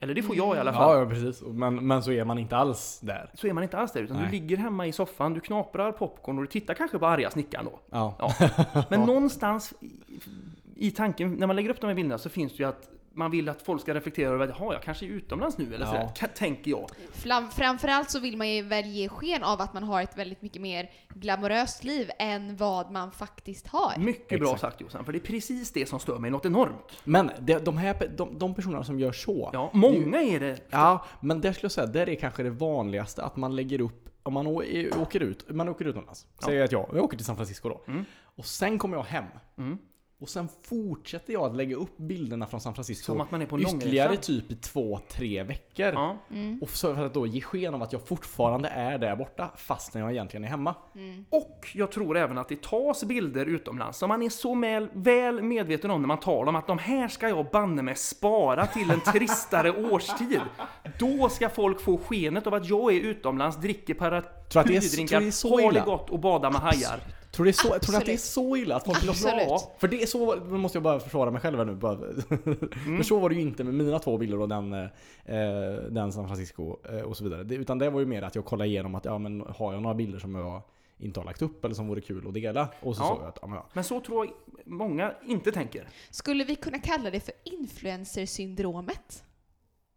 Eller det får jag i alla fall.
Ja, ja precis. Men, men så är man inte alls där.
Så är man inte alls där, utan
Nej.
du ligger hemma i soffan, du knaprar popcorn och du tittar kanske på arga snickaren då.
Ja.
Ja. Men någonstans i, i tanken, när man lägger upp de här bilderna så finns det ju att man vill att folk ska reflektera över att "Jaha, jag kanske är utomlands nu eller
Ja.
sådär, ka- tänker jag.
Fram, framförallt så vill man ju väl ge sken av att man har ett väldigt mycket mer glamoröst liv än vad man faktiskt
Mm.
har.
Mycket bra
Exakt.
sagt Jossan, för det är precis det som stör mig något enormt.
Men det, de, här, de, de personerna som gör så.
Ja, många är det.
Ja, men där skulle jag säga, där är kanske det vanligaste att man lägger upp, om man å- i- åker ut, man åker utomlands. Säger att jag, jag åker till San Francisco då.
Mm.
Och sen kommer jag hem. Och sen fortsätter jag att lägga upp bilderna från San Francisco.
Som att man är på en
Ytterligare
långresa.
typ i två, tre veckor.
Ja.
Och så för att då ge sken av att jag fortfarande är där borta, fastän jag egentligen är hemma.
Och jag tror även att det tas bilder utomlands som man är så väl, väl medveten om när man tar dem att de här ska jag banne mig spara till en tristare årstid. Då ska folk få skenet av att jag är utomlands, dricker
Tror att det är så- tror det är
paraplydrinkar,
så
har det
illa?
gott och badar med hajar.
Tror du, det är så, tror du att det är
Absolut.
så illa att folk vill
Absolut.
Ja,
För det är så, nu måste jag bara försvara mig själv här nu. Bara.
Mm.
För så var det ju inte med mina två bilder och den, eh, den San Francisco eh, och så vidare. Det, utan det var ju mer att jag kollade igenom att ja, men har jag några bilder som jag inte har lagt upp eller som vore kul att dela? Och så
Ja.
såg jag att ja, men ja.
men så tror jag många inte tänker.
Skulle vi kunna kalla det för influencersyndromet?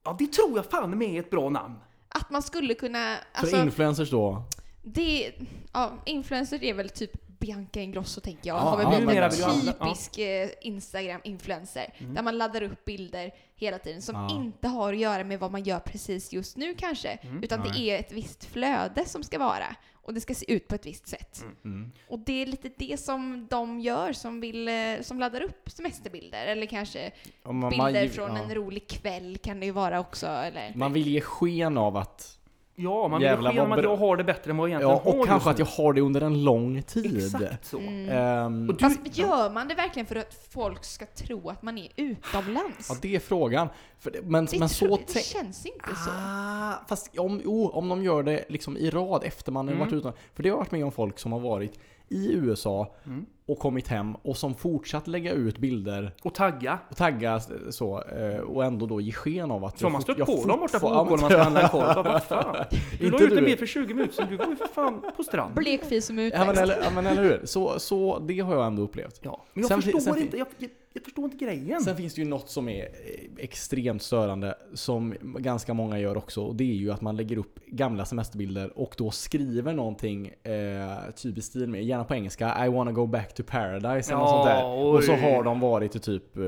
Ja, det tror jag fan med är ett bra namn.
Att man skulle kunna...
För
Alltså,
influencers då?
det, ja, influencer är väl typ Bianca Ingrosso tänker jag.
Ja,
Hon kommer
ja,
bli
numera
en
vill ju alla-
ja.
typisk eh, Instagram-influencer. Där man laddar upp bilder hela tiden som
Ja.
inte har att göra med vad man gör precis just nu kanske.
Mm.
Utan det är ett visst flöde som ska vara. Och det ska se ut på ett visst sätt.
Mm.
Och det är lite det som de gör som, vill, eh, som laddar upp semesterbilder. Eller kanske
Om man,
bilder
man,
från
ja.
en rolig kväll kan det ju vara också. Eller?
man vill ge sken av att
Ja, man vill
Jävlar,
ge sken
vad
att
bra.
jag har det bättre än vad jag egentligen
Ja,
har
och
just
kanske att
nu.
jag har det under en lång tid.
Exakt så.
Mm.
Ehm,
Och du,
Fast gör man det verkligen för att folk ska tro att man är utomlands?
ja, det är frågan. För det, men,
det,
men
tro-
så
det
tänk...
känns inte så.
Ah, fast om, jo, om de gör det liksom i rad efter man har
Mm.
varit utomlands. För det har jag varit med om folk som har varit i USA
Mm.
och kommit hem och som fortsatt lägga ut bilder
och tagga.
och tagga eh, så eh, och ändå då ge sken av att...
Så har man
fort-
stött på
fortfar-
dem borta på
Ja, men-
Ågården man ska handla en korv. Bara, Vad fan? Du la
Inte
ut en
du.
bild för 20 minuter sedan. Du var ju för fan på stranden.
Blekfis som
Ja men,
utväxt.
eller, ja men eller hur? Så, så det har jag ändå upplevt.
Ja, men jag
Sen fi-
förstår
sen fi-
inte. Jag, jag, jag förstår inte grejen.
Sen finns det ju något som är eh, extremt störande som ganska många gör också och det är ju att man lägger upp gamla semesterbilder och då skriver någonting eh, typ i stil med, gärna på engelska, I wanna go back to paradise eller
Ja,
något sånt där. Och så
oj.
har de varit i typ eh,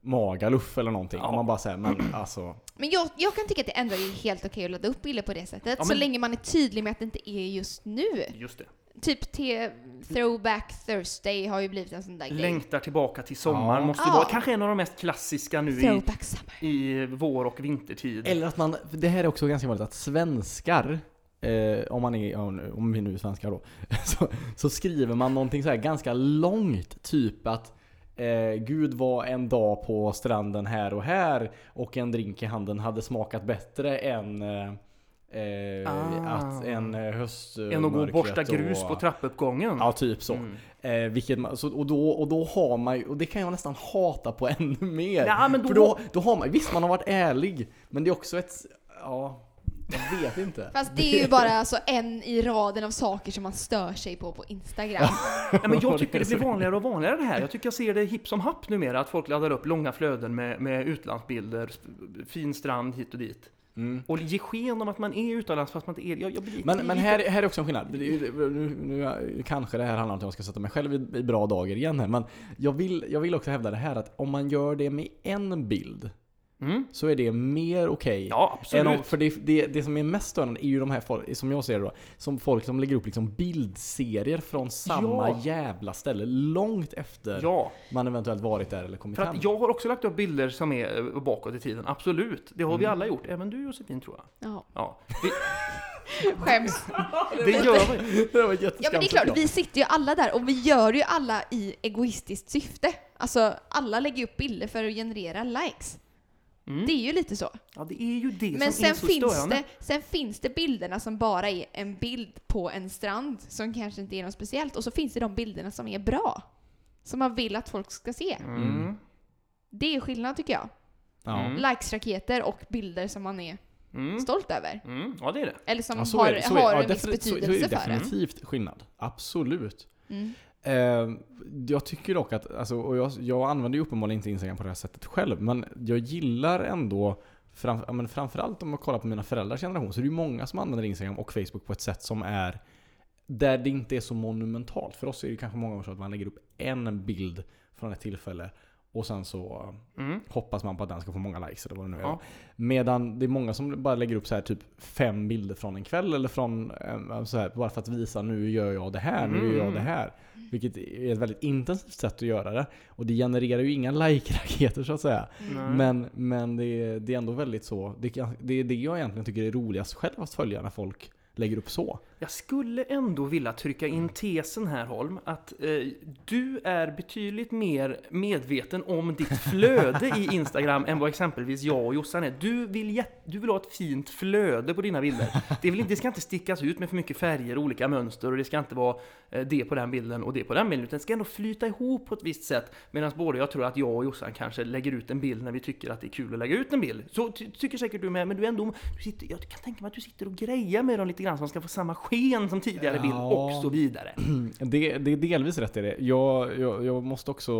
Magaluf eller någonting.
Ja.
Och man bara säger men alltså.
Men jag, jag kan tycka att det ändå är helt okej att ladda upp bilder på det sättet.
Ja,
Så
men-
länge man är tydlig med att det inte är just nu.
Just det.
Typ te, Throwback Thursday har ju blivit en sån där grej.
Längtar tillbaka till sommaren.
Ja.
Måste
Ja.
vara kanske en av de mest klassiska nu i,
Throwback Summer.
i vår och vintertid.
Eller att man, det här är också ganska vanligt att svenskar Eh, om, man är, ja, nu- om vi nu är svenskar då. Så, så skriver man någonting så här ganska långt. Typ att eh, Gud var en dag på stranden här och här och en drink i handen hade smakat bättre än eh, eh,
Ah.
att en eh, höst... eh,
än att gå och
mörkret
borsta grus
och-
på trappuppgången.
Ja, typ så.
Mm.
Eh, vilket man, så och, då, och då har man ju, och det kan jag nästan hata på ännu mer.
Ja, men då-
För då, då har man, visst man har varit ärlig, men det är också ett, ja, jag vet inte.
Fast det är ju bara alltså en i raden av saker som man stör sig på på Instagram.
Ja, men jag tycker det blir vanligare och vanligare det här. Jag tycker jag ser det hipp som happ numera, att folk laddar upp långa flöden med, med utlandsbilder, sp- fin strand hit och dit.
Mm.
Och ge sken om att man är utomlands fast man inte är jag, jag blir
Men, men här, här är också en skillnad. Det är ju- Nu, nu kanske det här handlar om att jag ska sätta mig själv i, i bra dagar igen här, men jag vill, jag vill också hävda det här att om man gör det med en bild
Mm.
så är det mer okej
Ja,
Än
absolut.
om, för det, det, det som är mest störande är ju de här folk, som jag ser det då, som folk som lägger upp liksom bildserier från samma
Ja.
jävla ställe långt efter
Ja,
man eventuellt varit där eller kommit
för
hem.
att jag har också lagt upp bilder som är eh, bakåt i tiden, absolut. Det har vi alla gjort, även du Josefin tror jag.
Ja,
Ja, det,
skäms.
det gör vi.
det var
Ja men det är
jätteskamligt,
klart, vi sitter ju alla där och vi gör ju alla i egoistiskt syfte. Alltså alla lägger ju upp bilder för att generera likes.
Mm.
Det är ju lite så.
Ja, det är ju det
Men
som är
sen
så
finns,
störande.
det, sen finns det bilderna som bara är en bild på en strand som kanske inte är något speciellt och så finns det de bilderna som är bra. Som man vill att folk ska se.
Mm.
Det är skillnad tycker jag.
Ja.
Mm.
Likes-raketer och bilder som man är
Mm.
stolt över.
Mm. Ja, det är det.
Eller som
Ja, så
har,
är det, så är det.
har
Ja,
en viss
definitivt- så- så är
betydelse
det
för en.
definitivt skillnad. Absolut.
Mm.
Eh, jag tycker dock att, alltså, och jag, jag använder ju uppenbarligen inte Instagram på det här sättet själv, men jag gillar ändå fram, ja, men framförallt om man kollar på mina föräldrars generation så är det ju många som använder Instagram och Facebook på ett sätt som är där det inte är så monumentalt. För oss är det kanske många gånger så att man lägger upp en bild från ett tillfälle och sen så
Mm.
hoppas man på att den ska få många likes eller vad det nu är.
Ja.
Medan det är många som bara lägger upp så här typ fem bilder från en kväll eller från eh, så här, bara för att visa nu gör jag det här, nu gör jag det här. Vilket är ett väldigt intensivt sätt att göra det. Och det genererar ju inga like-raketer så att säga.
Mm.
Mm.
Men, men det, är, det är ändå väldigt så. Det, kan- det är det jag egentligen tycker är roligast själv att följa när folk lägger upp så.
Jag skulle ändå vilja trycka in tesen här Holm, att eh, du är betydligt mer medveten om ditt flöde i Instagram än vad exempelvis jag och Jossan är. Du vill, jätt- du vill ha ett fint flöde på dina bilder. Det, vill, det ska inte stickas ut med för mycket färger och olika mönster och det ska inte vara eh, det på den bilden och det på den bilden, utan det ska ändå flyta ihop på ett visst sätt. Medan både jag tror att jag och Jossan kanske lägger ut en bild när vi tycker att det är kul att lägga ut en bild. Så ty tycker säkert du med, men du är ändå, du sitter, jag kan tänka mig att du sitter och grejar med dem lite grann så de ska få samma sken som tidigare bild
Ja.
och så vidare.
Det, det är delvis rätt i det. Jag, jag, jag måste också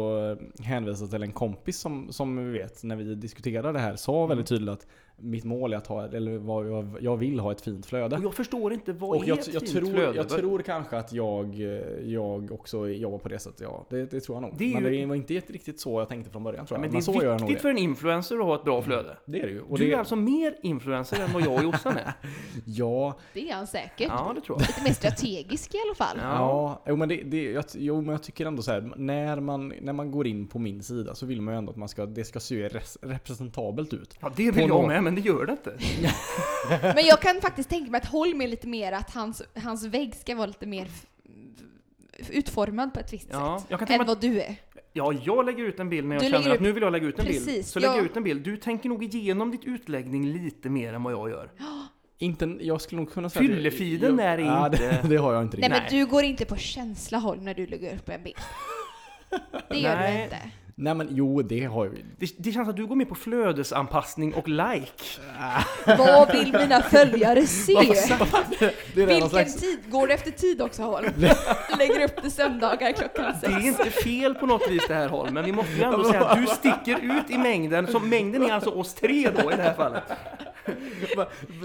eh, hänvisa till en kompis som, som vi vet, när vi diskuterade det här, sa
Mm.
väldigt tydligt att mitt mål är att ha, eller vad jag, jag vill ha ett fint flöde.
Och jag förstår inte, vad
Och
är
jag,
ett
jag,
fint
tror,
flöde?
jag tror kanske att jag, eh, jag också jobbar på det sättet. Ja, det, det tror jag nog.
Det är
men
ju-
det var inte riktigt så jag tänkte från början tror
Ja, men
jag. Men,
det
så gör
är
jag nog
viktigt
det.
för en influencer att ha ett bra flöde.
Det är det ju. Och
du
det,
är alltså mer influencer än vad jag och Jossan är.
Ja,
Det är han säkert.
Ja, det tror jag.
Lite mer strategisk i alla fall.
ja. Jo, men, det, det, jag, jo, men jag tycker ändå så här. När man, när man går in på min sida så vill man ju ändå att man ska, det ska se res- representabelt ut.
Ja, det vill
På
jag med,
nå-
men men det gör det inte.
Men jag kan faktiskt tänka mig att Holm är lite mer att hans, hans vägg ska vara lite mer f- f- utformad på ett visst
Ja,
sätt.
jag kan tänka
Än
mig att,
vad du är.
ja, jag lägger ut en bild när jag
Du
känner
lägger
att
upp-
nu vill jag lägga ut en bild.
Precis,
Så lägger jag
ja.
ut en bild. Du tänker nog igenom ditt utläggning lite mer än vad jag gör.
Inte, jag skulle nog kunna säga... att jag-
Fyllefiden
jag-
är
Ja, det,
inte-
det har jag inte
Nej,
riktigt.
Nej.
men du går inte på känsla Holm när du lägger upp en bild. Det gör
Nej.
du inte.
Nej men jo, det har jag ju.
Det, det känns att du går med på flödesanpassning och like.
Vad vill mina följare se?
Det är någon
Vilken
slags...
tid? Går det efter tid också Holm? Lägger upp det söndagar klockan
Det är
sex.
inte fel på något vis det här Holm, men vi måste ju ändå säga att du sticker ut i mängden. Så mängden är alltså oss tre då i det här fallet.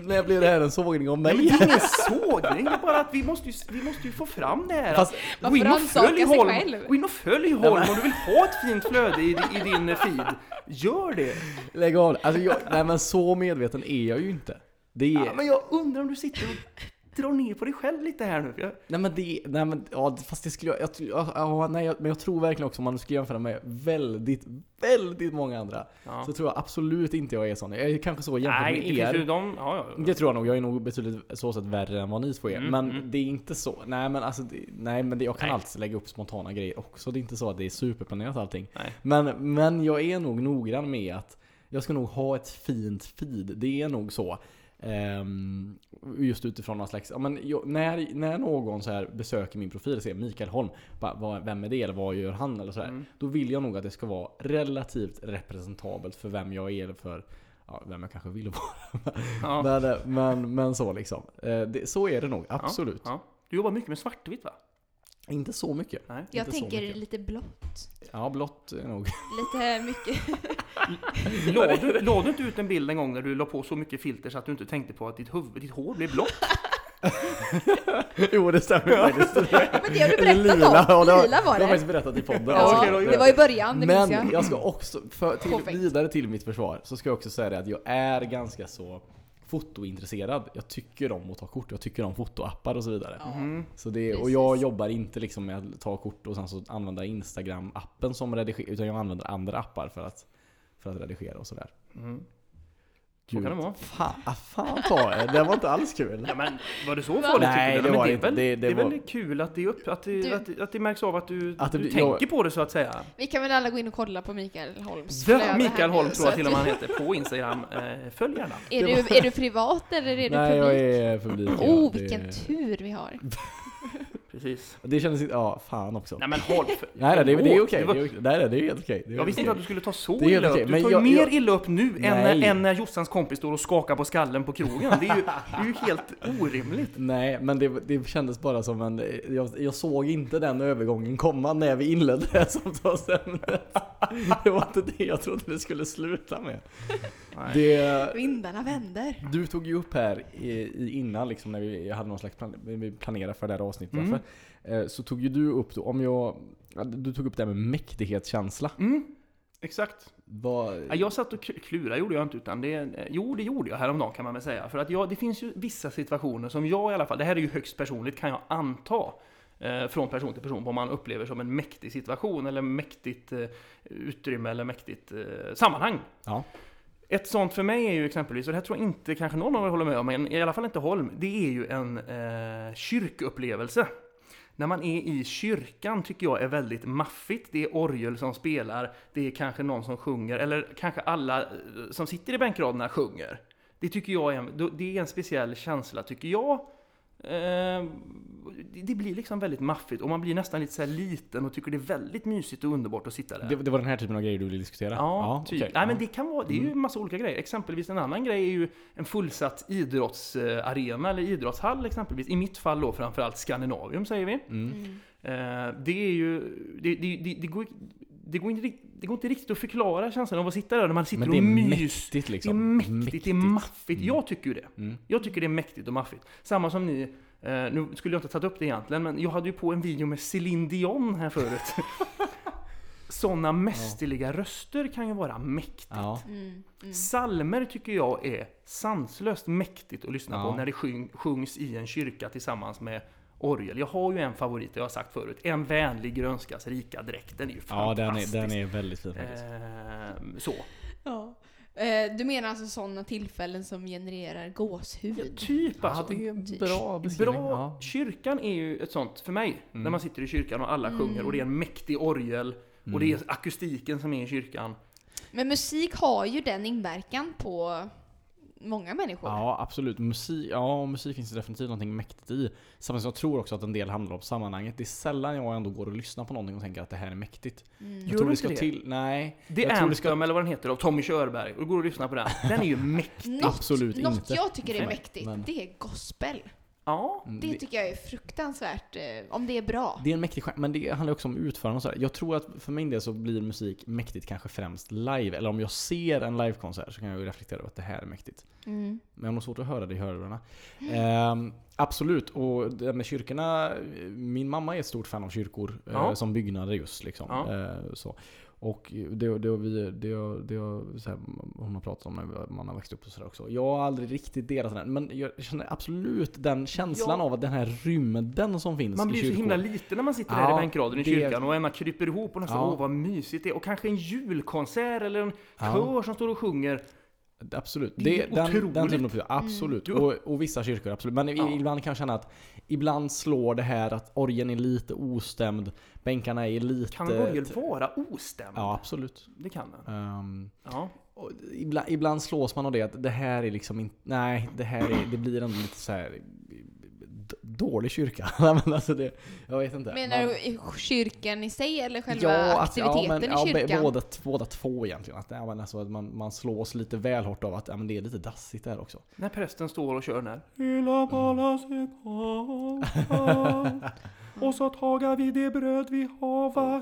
När blir det här en sågning om
Nej, men det
mig?
är ingen sågning, det är bara att vi måste ju, vi måste ju få fram det här.
Fast-
Att
Man rannsakar sig
Holm,
själv.
gå in och följ Holm om du vill ha ett fint flöde i, i din feed. Gör det!
Lägg av det. alltså, jag, Nej men så medveten är jag ju inte. Det är...
Ja, men jag undrar om du sitter och drar ner på dig själv lite här nu. för jag-
Nej men det, nej men ja, fast det skulle jag, jag, jag ja, nej, jag, men jag tror verkligen också om man skulle jämföra med väldigt, väldigt många andra.
Ja.
Så tror jag absolut inte jag är sån. Jag är kanske så jämfört
Nej, det
med er.
finns ju de... Ja, ja, ja.
Det tror jag nog. Jag är nog betydligt så sett värre än vad ni två är.
Mm,
men
mm.
det är inte så. Nej men alltså, det, nej men det, jag kan
Nej.
alltid lägga upp spontana grejer också. Det är inte så att det är superplanerat allting.
Nej.
Men, men jag är nog noggrann med att jag ska nog ha ett fint feed. Det är nog så. Ehm, just utifrån någon slags, ja, men jag, när, när någon så här besöker min profil och ser Mikael Holm, bara, vad, vem är det eller vad gör han eller så här,
Mm.
Då vill jag nog att det ska vara relativt representabelt för vem jag är eller för ja, vem jag kanske vill vara.
Ja.
men, eh, men, men så liksom. Eh, det, så är det nog, absolut.
Ja. Du jobbar mycket med svartvitt va?
Inte så mycket.
Nej.
Jag
Inte så
tänker
mycket.
lite blått.
Ja, blått är nog.
Lite mycket.
La du, la du inte ut en bild en gång när du la på så mycket filter så att du inte tänkte på att ditt, huvud, ditt hår blev blått?
jo, det stämmer faktiskt.
Ja, men det har du
Eller
berättat
ja,
om.
det har-
Lila var
Det har
det.
faktiskt berättat i podden.
Ja,
Ja,
okej då,
det var i början, det minns
Men
jag.
jag ska också, för, till,
Perfekt.
vidare till mitt försvar, så ska jag också säga det att jag är ganska så fotointresserad. Jag tycker om att ta kort, jag tycker om fotoappar och så vidare.
Mm.
Så det, och
Precis.
jag jobbar inte liksom med att ta kort och sen så använda Instagram-appen som redigerar, utan jag använder andra appar för att, för att redigera och sådär.
Mm. Så
Gud,
kan det vara.
Fan, ah, fan ta er. det var inte alls kul.
Ja, men var det så farligt
Nej,
tycker du?
det
men
var
det är
inte.
väl,
Det- det
är väl
var-
kul att det, är upp, att, det,
Du-
att, det, att det märks av att du,
Att det
du
blir-
tänker
jag-
på det så att säga.
Vi kan väl alla gå in och kolla på Mikael Holms flöde
The
här
Mikael
nu,
Holm tror
så
jag till och med
att-
han heter på Instagram. Eh, följ gärna.
Är du, är du privat eller är du
Nej, jag
publik?
är publik. ja.
Oh,
Det-
vilken tur vi har.
Precis.
Det kändes inte, ja fan också.
Nej men håll för...
Nej, nej, det, det är
Ändå,
okej.
det var-
Det är okej. Nej, nej, det är helt okej. Det är
Jag visste
helt
inte att
okej.
du skulle ta så
Det är
illa
okej,
upp. Du
men
tar ju
jag-
mer
jag-
illa upp nu än när,
Nej.
än när Jossans kompis står och skakar på skallen på krogen. Det är ju, det är ju helt orimligt.
Nej, men det, det kändes bara som en... Jag, jag såg inte den övergången komma när vi inledde det här samtalsämnet. Det var inte det jag trodde det skulle sluta med.
Nej.
Det,
Vindarna vänder.
du tog ju upp här i, i innan, liksom, när vi hade någon slags plan, vi planerade för det här avsnittet.
Mm.
varför, eh, Så tog ju du upp, då, om jag, ja, du tog upp det här med mäktighetskänsla.
Mm, exakt.
Vad,
Ja, jag satt och k- klura gjorde jag inte utan det, eh, jo det gjorde jag häromdagen kan man väl säga. För att jag, det finns ju vissa situationer som jag i alla fall, det här är ju högst personligt kan jag anta. eh, Från person till person vad man upplever som en mäktig situation eller mäktigt eh, utrymme eller mäktigt eh, sammanhang.
Ja.
Ett sånt för mig är ju exempelvis, och det här tror jag inte kanske någon av er håller med om, men i alla fall inte Holm, det är ju en eh, kyrkupplevelse. När man är i kyrkan tycker jag är väldigt maffigt. Det är orgel som spelar, det är kanske någon som sjunger, eller kanske alla eh, som sitter i bänkraderna sjunger. Det tycker jag är en, då- det är en speciell känsla, tycker jag. Eh, det- det blir liksom väldigt maffigt och man blir nästan lite så här liten och tycker det är väldigt mysigt och underbart att sitta där.
det, det var den här typen av grejer du ville diskutera?
Ja, typ.
okej. Mm.
Nej, men det kan vara, det är ju en massa olika grejer. Exempelvis en annan grej är ju en fullsatt idrottsarena eller idrottshall exempelvis. I mitt fall då framförallt Skandinavium säger vi.
Mm.
Eh, det är ju, det, det, det, det, går, det, går inte, rikt- det går inte riktigt att förklara känslan av att sitta där när man sitter
Men
och
det är
mys.
mäktigt
Det är
liksom.
mäktigt, det är maffigt. Jag tycker ju det.
Mm.
Jag tycker det är mäktigt och maffigt. Samma som ni, eh, nu skulle jag inte ha tagit upp det egentligen, men jag hade ju på en video med Céline Dion här förut. Sådana mästerliga röster kan ju vara mäktigt.
Ja.
Mm, mm.
Salmer tycker jag är sanslöst mäktigt att lyssna på
Ja.
när det sjung, sjungs i en kyrka tillsammans med orgel. Jag har ju en favorit, det har jag sagt förut. En vänlig grönskas rika dräkt. Den är ju
Ja, den
fantastisk.
är, den är väldigt fin faktiskt.
är... Eh, så.
Ja. Eh, Eh, du menar alltså sådana tillfällen som genererar
Ja,
gåshud?
typ
Ja,
alltså.
det är en bra beskrivning.
Bra,
Ja.
kyrkan är ju ett sånt för mig.
Mm.
När man sitter i kyrkan och alla sjunger och det är en mäktig orgel och
Mm.
det är akustiken som är i kyrkan.
Men musik har ju den inverkan på många människor.
Ja, absolut. Musik, ja, musik finns det definitivt någonting mäktigt i. Samtidigt som jag tror också att en del handlar om sammanhanget. Det är sällan jag ändå går och lyssnar på någonting och tänker att det här är mäktigt.
Mm.
Jag
Gör
tror
du
det
inte
ska
det?
till... Nej.
Det
jag
är
tror det
Anthem
ska-
eller vad den heter av Tommy Körberg. Och då går du och lyssnar på den. Den är ju mäktig.
Något,
Absolut
något
inte.
jag tycker är
Nej,
mäktigt,
men-
det är gospel.
Ja.
Mm,
Det tycker jag är fruktansvärt, eh, om det är bra.
Det är en mäktig genre, men det handlar också om utförande och sådär. Jag tror att för min del så blir musik mäktigt kanske främst live. Eller om jag ser en livekonsert så kan jag ju reflektera över att det här är mäktigt.
Mm.
Men jag har nog svårt att höra det i hörlurarna. Ehm, absolut, och det med kyrkorna. Min mamma är ett stort fan av kyrkor eh,
Ja.
som byggnader just. Liksom.
Ja.
Eh, så. Och det, det, har vi, det, har- det har- så här, hon har pratat om när man har växt upp och sådär också. Jag har aldrig riktigt delat den. Men jag känner absolut den känslan
Ja.
av att den här rymden som finns
Man
i
blir ju
kyrkor.
så himla liten när man sitter här
Ja,
i bänkraden i
det-
kyrkan och man kryper ihop och nästan
Ja.
åh vad mysigt det är. Och kanske en julkonsert eller en
Ja.
kör som står och sjunger.
Absolut.
Det är
Det, den, den
otroligt.
typen av prylar, absolut.
Mm.
Och, och vissa kyrkor, absolut. Men i-
Ja.
ibland kan jag känna att ibland slår det här att orgen är lite ostämd, bänkarna är lite...
Kan en orgel vara ostämd?
Ja, absolut.
Det kan den.
Ehm,
Ja.
och ibland, ibland slås man av det att det här är liksom inte... Nej, det här är, det blir ändå lite så här d- dålig kyrka. Nej, men alltså det, jag vet inte.
Menar
Man-
du i kyrkan i sig eller själva
att-
aktiviteten
ja,
i
be-
kyrkan?
båda, båda två egentligen. Att, ja, men alltså, att man, man slås lite väl hårt av att ja, men det är lite dassigt där också.
När prästen står och kör den här. Hela palaset och så taga vi det bröd vi hava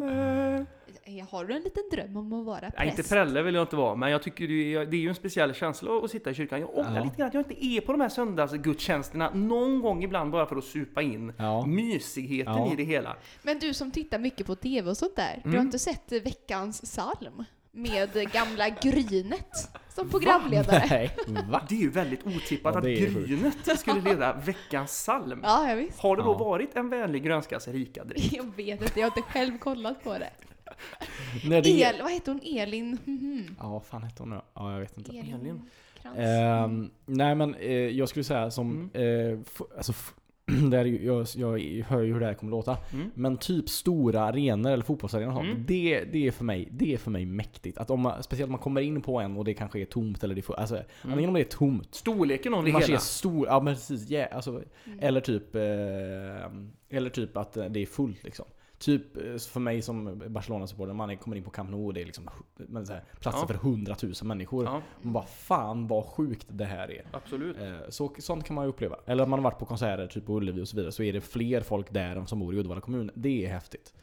med.
Eh, Har du en liten dröm om att vara
Nej,
präst?
inte prälle vill jag inte vara, men jag tycker det är, det är ju en speciell känsla att- att sitta i kyrkan. Jag ångrar
Ja.
lite grann att jag inte är på de här söndagsgudstjänsterna någon gång ibland bara för att supa in
Ja.
mysigheten
Ja.
i det hela.
Men du som tittar mycket på TV och sånt där,
Mm.
du har inte sett eh, veckans psalm? Med gamla Grynet som programledare?
Nej, va?
Det är ju väldigt otippat
Ja,
att
det är sjukt.
Grynet skulle leda veckans psalm.
Ja, ja, visst.
Har det då
Ja.
varit en vänlig grönskas rika dryck?
Jag vet inte, jag har inte själv kollat på det.
När det
El, vad heter hon? Elin? Mhm.
Ja, vad fan hette hon nu Ja, jag vet inte.
E
Elin.
Krantz.
Ehm, nej men eh, jag skulle säga som,
Mm.
eh, f- alltså, f- det här är ju, jag, jag hör ju hur det här kommer låta.
Mm.
Men typ stora arenor eller fotbollsarenor och sånt.
Mm.
Det, det, är för mig, det är för mig mäktigt. Att om man, speciellt om man kommer in på en och det kanske är tomt eller det får,
Mm.
alltså, antingen om det är tomt.
Storleken av det
Man ser
hela.
stor, ja men precis, ja, alltså,
Mm.
eller, typ, eh, eller typ att eh, det är fullt liksom. Typ eh, för mig som Barcelona-supporter, man är- kommer in på Camp Nou och det är liksom hu- men så här, platser
Ja.
för hundratusen människor.
Ja,
Man bara fan vad sjukt det här är.
absolut.
Eh, Så, sånt kan man ju uppleva. Eller om man har varit på konserter, typ på Ullevi och så vidare, så är det fler folk där än som bor i Uddevalla kommun. Det är häftigt.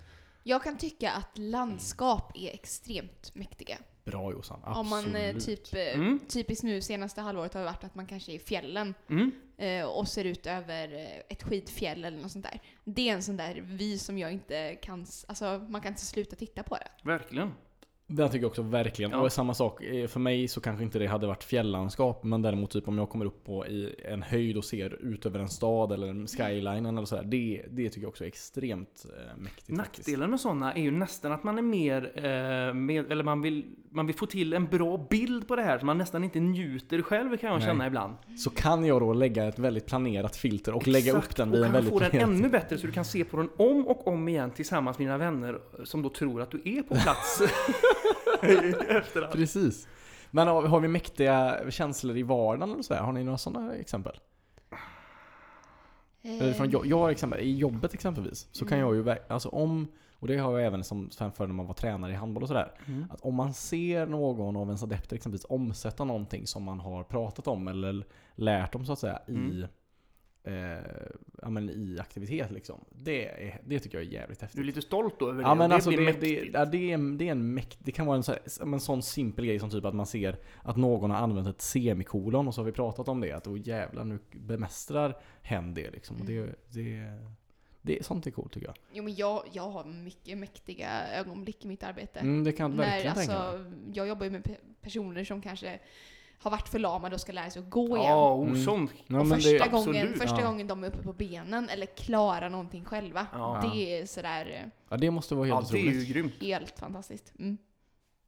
Jag kan tycka att landskap är extremt mäktiga.
Bra Jossan, absolut.
Om man eh, typ, eh,
Mm.
typiskt nu senaste halvåret har det varit att man kanske är i fjällen
Mm.
eh, och ser ut över eh, ett skidfjäll eller något sånt där. Det är en sån där vy som jag inte kan, s- alltså man kan inte sluta titta på det.
Verkligen.
Den tycker jag också verkligen.
Ja.
Och samma sak, eh, för mig så kanske inte det hade varit fjällandskap, men däremot typ om jag kommer upp på i en höjd och ser ut över en stad eller en skylinen eller sådär. Det, det tycker jag också är extremt eh, mäktigt. faktiskt.
Nackdelen med sådana är ju nästan att man är mer, eh, med, eller man vill, man vill få till en bra bild på det här så man nästan inte njuter själv kan jag
Nej.
känna ibland.
Så kan jag då lägga ett väldigt planerat filter och lägga upp den
och
vid en
kan
väldigt
få den
planerad-
ännu bättre så du kan se på den om och om igen tillsammans med dina vänner eh, som då tror att du är på plats.
Precis. Men har, har vi mäktiga känslor i vardagen eller så här? Har ni några sådana exempel?
Eh.
Eller från, jag, jag har exempel, i jobbet exempelvis, så kan jag ju verk- alltså om, och det har jag även som sen för när man var tränare i handboll och sådär, att om man ser någon av ens adepter exempelvis omsätta någonting som man har pratat om eller lärt om så att säga
Mm.
i, eh, ja, men i aktivitet liksom. Det, är, det tycker jag är jävligt häftigt.
Du är lite stolt då över det.
Ja men
det
alltså
blir
det, det,
mäktigt.
ja, det, är, det är en mäkt, det kan vara en, så här, en sån simpel grej som typ att man ser att någon har använt ett semikolon och så har vi pratat om det att oh jävlar nu bemästrar hen det liksom. Och
Mm.
det, det, det, sånt är coolt tycker jag.
Jo men jag, jag har mycket mäktiga ögonblick i mitt arbete.
Mm, det kan jag
När,
verkligen tänka mig.
alltså, jag jobbar ju med pe- personer som kanske har varit förlamade och ska lära sig att gå igen.
Ja, oh,
Mm.
sånt.
Ja,
och
men
första,
det,
gången,
absolut,
första
ja.
gången de är uppe på benen eller klarar någonting själva.
Ja.
Det är sådär eh,
ja, det måste vara helt
Ja, det är ju
otroligt.
grymt.
helt fantastiskt. Mm.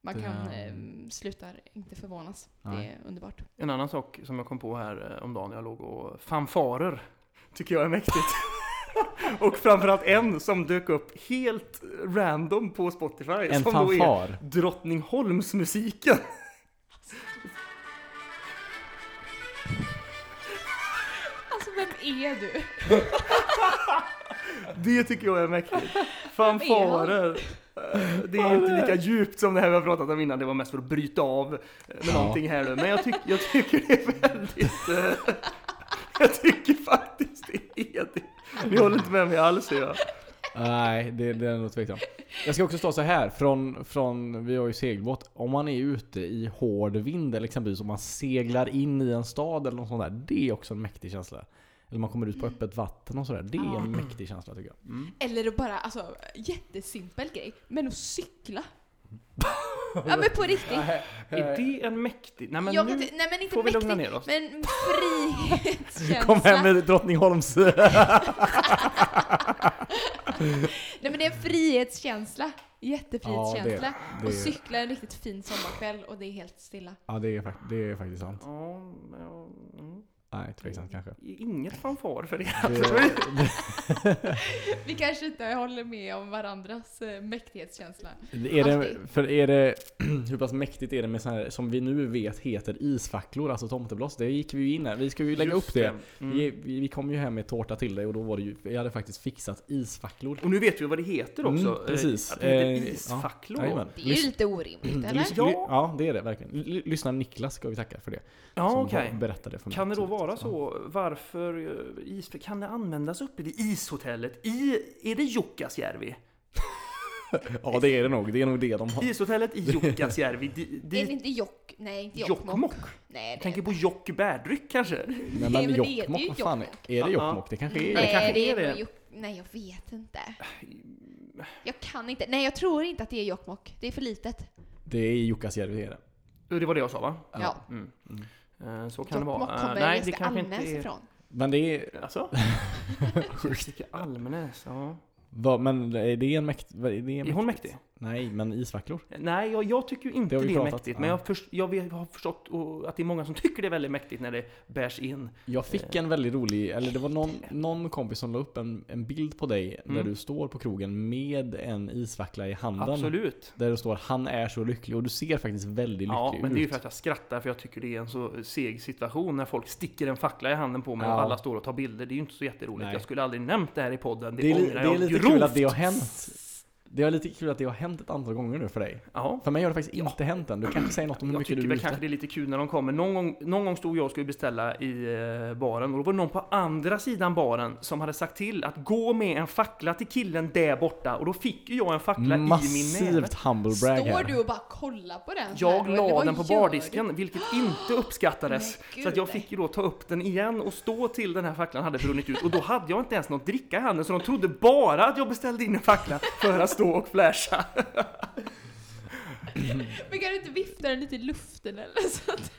Man
Det-
kan eh, sluta inte förvånas. Det
Nej.
är underbart.
En annan sak som jag kom på här eh, om dagen när jag låg och fanfarer tycker jag är mäktigt. och framförallt en som dök upp helt random på Spotify.
En
som då är
fanfar.
Drottningholmsmusiken.
Alltså vem är du?
Det tycker jag är mäktigt.
han?
Fanfarer. Eh, Det är inte lika djupt som det här vi har pratat om innan. Det var mest för att bryta av eh, med
Ja.
någonting här nu. Men jag, tyck, jag tycker det är väldigt... eh, Jag tycker faktiskt det är det. Ni håller inte med mig alls, ser jag.
Nej, det, det är nog tveksamt. Jag ska också stå så här, från, från, vi har ju segelbåt. Om man är ute i hård vind eller exempelvis om man seglar in i en stad eller något sånt där. Det är också en mäktig känsla. Eller man kommer ut på öppet vatten och sådär. Det är
Ja.
en mäktig känsla tycker jag.
Mm.
Eller att bara, alltså jättesimpel grej, men att cykla. ja men på riktigt.
Är det en mäktig... Nej men
jag
nu...
kan inte, nej men inte
får vi
mäktigt,
lugna ner oss.
men frihetskänsla.
Kom hem med Drottningholms...
Nej men det är en frihetskänsla.
Ja, det
Jättefrihetskänsla.
det
Och
är-
cykla en riktigt fin sommarkväll och det är helt stilla.
Ja, det är, fakt- det är faktiskt sant.
Ja, ja, mm.
Nej, tveksamt kanske.
Inget fanfar för det. Alltså,
Det,
Vi kanske inte håller med om varandras eh, mäktighetskänsla.
Är det,
Alltid.
för är det, hur pass mäktigt är det med sådana här, som vi nu vet heter isfacklor, alltså tomteblås? Det gick vi ju in här. Vi ska ju lägga
Just
upp det.
Mm.
Vi, vi vi kom ju hem med tårta till dig och då var det ju, jag hade faktiskt fixat isfacklor.
Och nu vet vi vad det heter också.
Mm, precis.
Eh, Att det heter
Eh, ja.
isfacklor.
Jajamän.
Det är ju
Lys-
lite orimligt eller?
lys-
Ja.
ly- ja, det är det verkligen. L- lyssna Niklas ska vi tacka för det.
Ja,
som
okej.
berättade för mig.
Kan det då
Absolut.
vara så? Varför eh, is, kan det användas uppe vid ishotellet? I, är det Jukkasjärvi?
Ja, Ja, det är det nog. Det är nog det de har.
Ishotellet i Jukkasjärvi. di-
Är det
di-
inte Jokk? Nej, inte Jokkmokk.
Jokkmokk?
Nej,
Jag
det är
tänker på Jokk bärdryck kanske?
Nej,
Nej,
men
men det är ju
Jokkmokk, vad fan är
Jokkmokk.
är
Ja.
det? Jokkmokk? Det kanske är
det
Nej,
det.
kanske är
nog
det.
Jok- Nej, jag vet inte. Jag kan inte. Nej, jag tror inte att det är Jokkmokk. Det är för litet.
Det är i Jukkasjärvi, det är det.
Det var det jag sa va?
Ja.
Mm. Eh, Så kan det
Jokkmokk
vara.
kommer
Eh, Nej, det
Jessica
kanske
Almenäs
inte är...
ifrån.
Men det är,
Alltså? Jessica Almenäs, ja.
vad- men är det en mäkt... vad- Är, det
Är hon mäktig?
Nej, men isfacklor?
Nej, jag, jag tycker ju inte
har
det,
vi
är
pratat,
mäktigt.
ja.
Men jag, först, jag vet- jag har förstått och, att det är många som tycker det är väldigt mäktigt när det bärs in.
Jag fick
Eh.
en väldigt rolig, eller det var någon, någon kompis som la upp en, en bild på dig där
Mm.
du står på krogen med en isfackla i handen.
Absolut.
Där det står han är så lycklig och du ser faktiskt väldigt lycklig
Ja,
ut.
men det är ju för att jag skrattar för jag tycker det är en så seg situation när folk sticker en fackla i handen på mig och
Ja.
alla står och tar bilder. Det är ju inte så jätteroligt.
Nej.
Jag skulle aldrig nämnt det här i podden. Det,
det är, li-
ångrar
det är
jag
lite
grovt.
kul att det har hänt. Det är lite kul att det har hänt ett antal gånger nu för dig.
Ja.
För mig har det faktiskt inte hänt än. Du kanske säger något om hur
Jag
mycket
tycker
du är
väl
ute.
kanske det är lite kul när de kommer. Någon gång, någon gång stod jag och skulle beställa i eh, baren och då var det någon på andra sidan baren som hade sagt till att gå med en fackla till killen där borta och då fick ju jag en fackla i min näve.
Massivt humble brag
Står
här.
du och bara kollar på den? så här
Jag
då, eller
la
vad
den på
gör
bardisken, vilket inte uppskattades.
Men gud.
så att jag fick ju då ta upp den igen och stå till den här facklan hade brunnit ut. Och då hade jag inte ens något dricka i handen, så de trodde bara att jag beställde in en fackla för att stå och flasha.
du? Men kan du inte vifta den lite i luften eller sånt?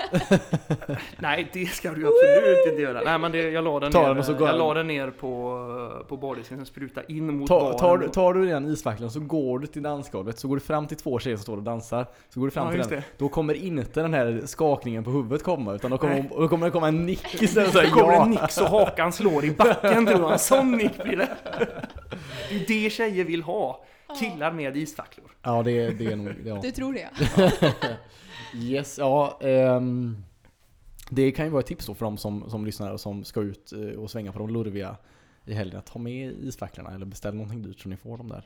Nej, det ska du absolut inte göra. Nej, men det, jag la den
Ta
ner,
den och så går
jag
den.
la den ner på, på bardisken, sen spruta in mot
Ta,
baren.
tar, du- tar du den isfacklan så går du till dansgolvet, så går du fram till två tjejer som står och dansar. Så går du fram
Ja,
till
just
den.
det.
Då kommer inte den här skakningen på huvudet komma, utan då kommer,
Nej.
då kommer det komma en nick istället. Så här,
Sen kommer
ja.
det nick så hakan slår i backen tror jag. En sån nick blir det. Det är det tjejer vill ha. Killar med isfacklor.
ja, det, är- det är nog... Ja.
Du tror det?
Yes, ja. ehm, det kan ju vara ett tips då för de som, som lyssnar och som ska ut eh, och svänga på de lurviga i helgen. Att ta med isfacklorna eller beställ någonting dyrt så ni får dem där.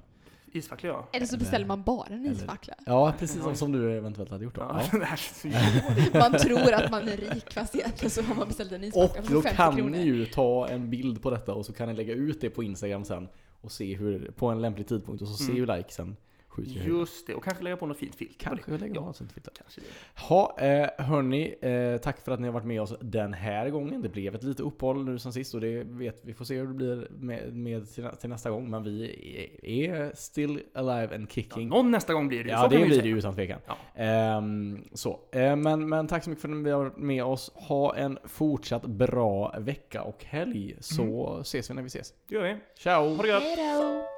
Isfacklor ja.
Eller så beställer man bara en isfackla.
Ja, precis som, som du eventuellt hade gjort då.
Ja.
Typ. Ja.
Man tror att man är rik fast egentligen så har man beställt en
Och
isfackla för
då
50
kan
kronor.
ni ju ta en bild på detta och så kan ni lägga ut det på Instagram sen och se hur, på en lämplig tidpunkt och så ser ju likesen skjuter ju höjden.
Just det, och kanske lägga på något fint filter på det.
Kanske vi lägger
Ja.
på något sånt filter.
Kanske det.
Ha, eh, hörni, eh, tack för att ni har varit med oss den här gången. Det blev ett litet uppehåll nu som sist och det vet, vi får se hur det blir med, med till, nä- till nästa gång. Men vi är- är still alive and kicking.
Någon nästa gång blir det ju.
Ja,
så kan
det
man ju
blir det
säga.
ju utan tvekan.
Ja.
Ehm, så. Eh, men, men tack så mycket för att ni har varit med oss. Ha en fortsatt bra vecka och helg så ses vi när vi ses.
Det gör vi.
Ciao!
Ha det gött!
Hej då!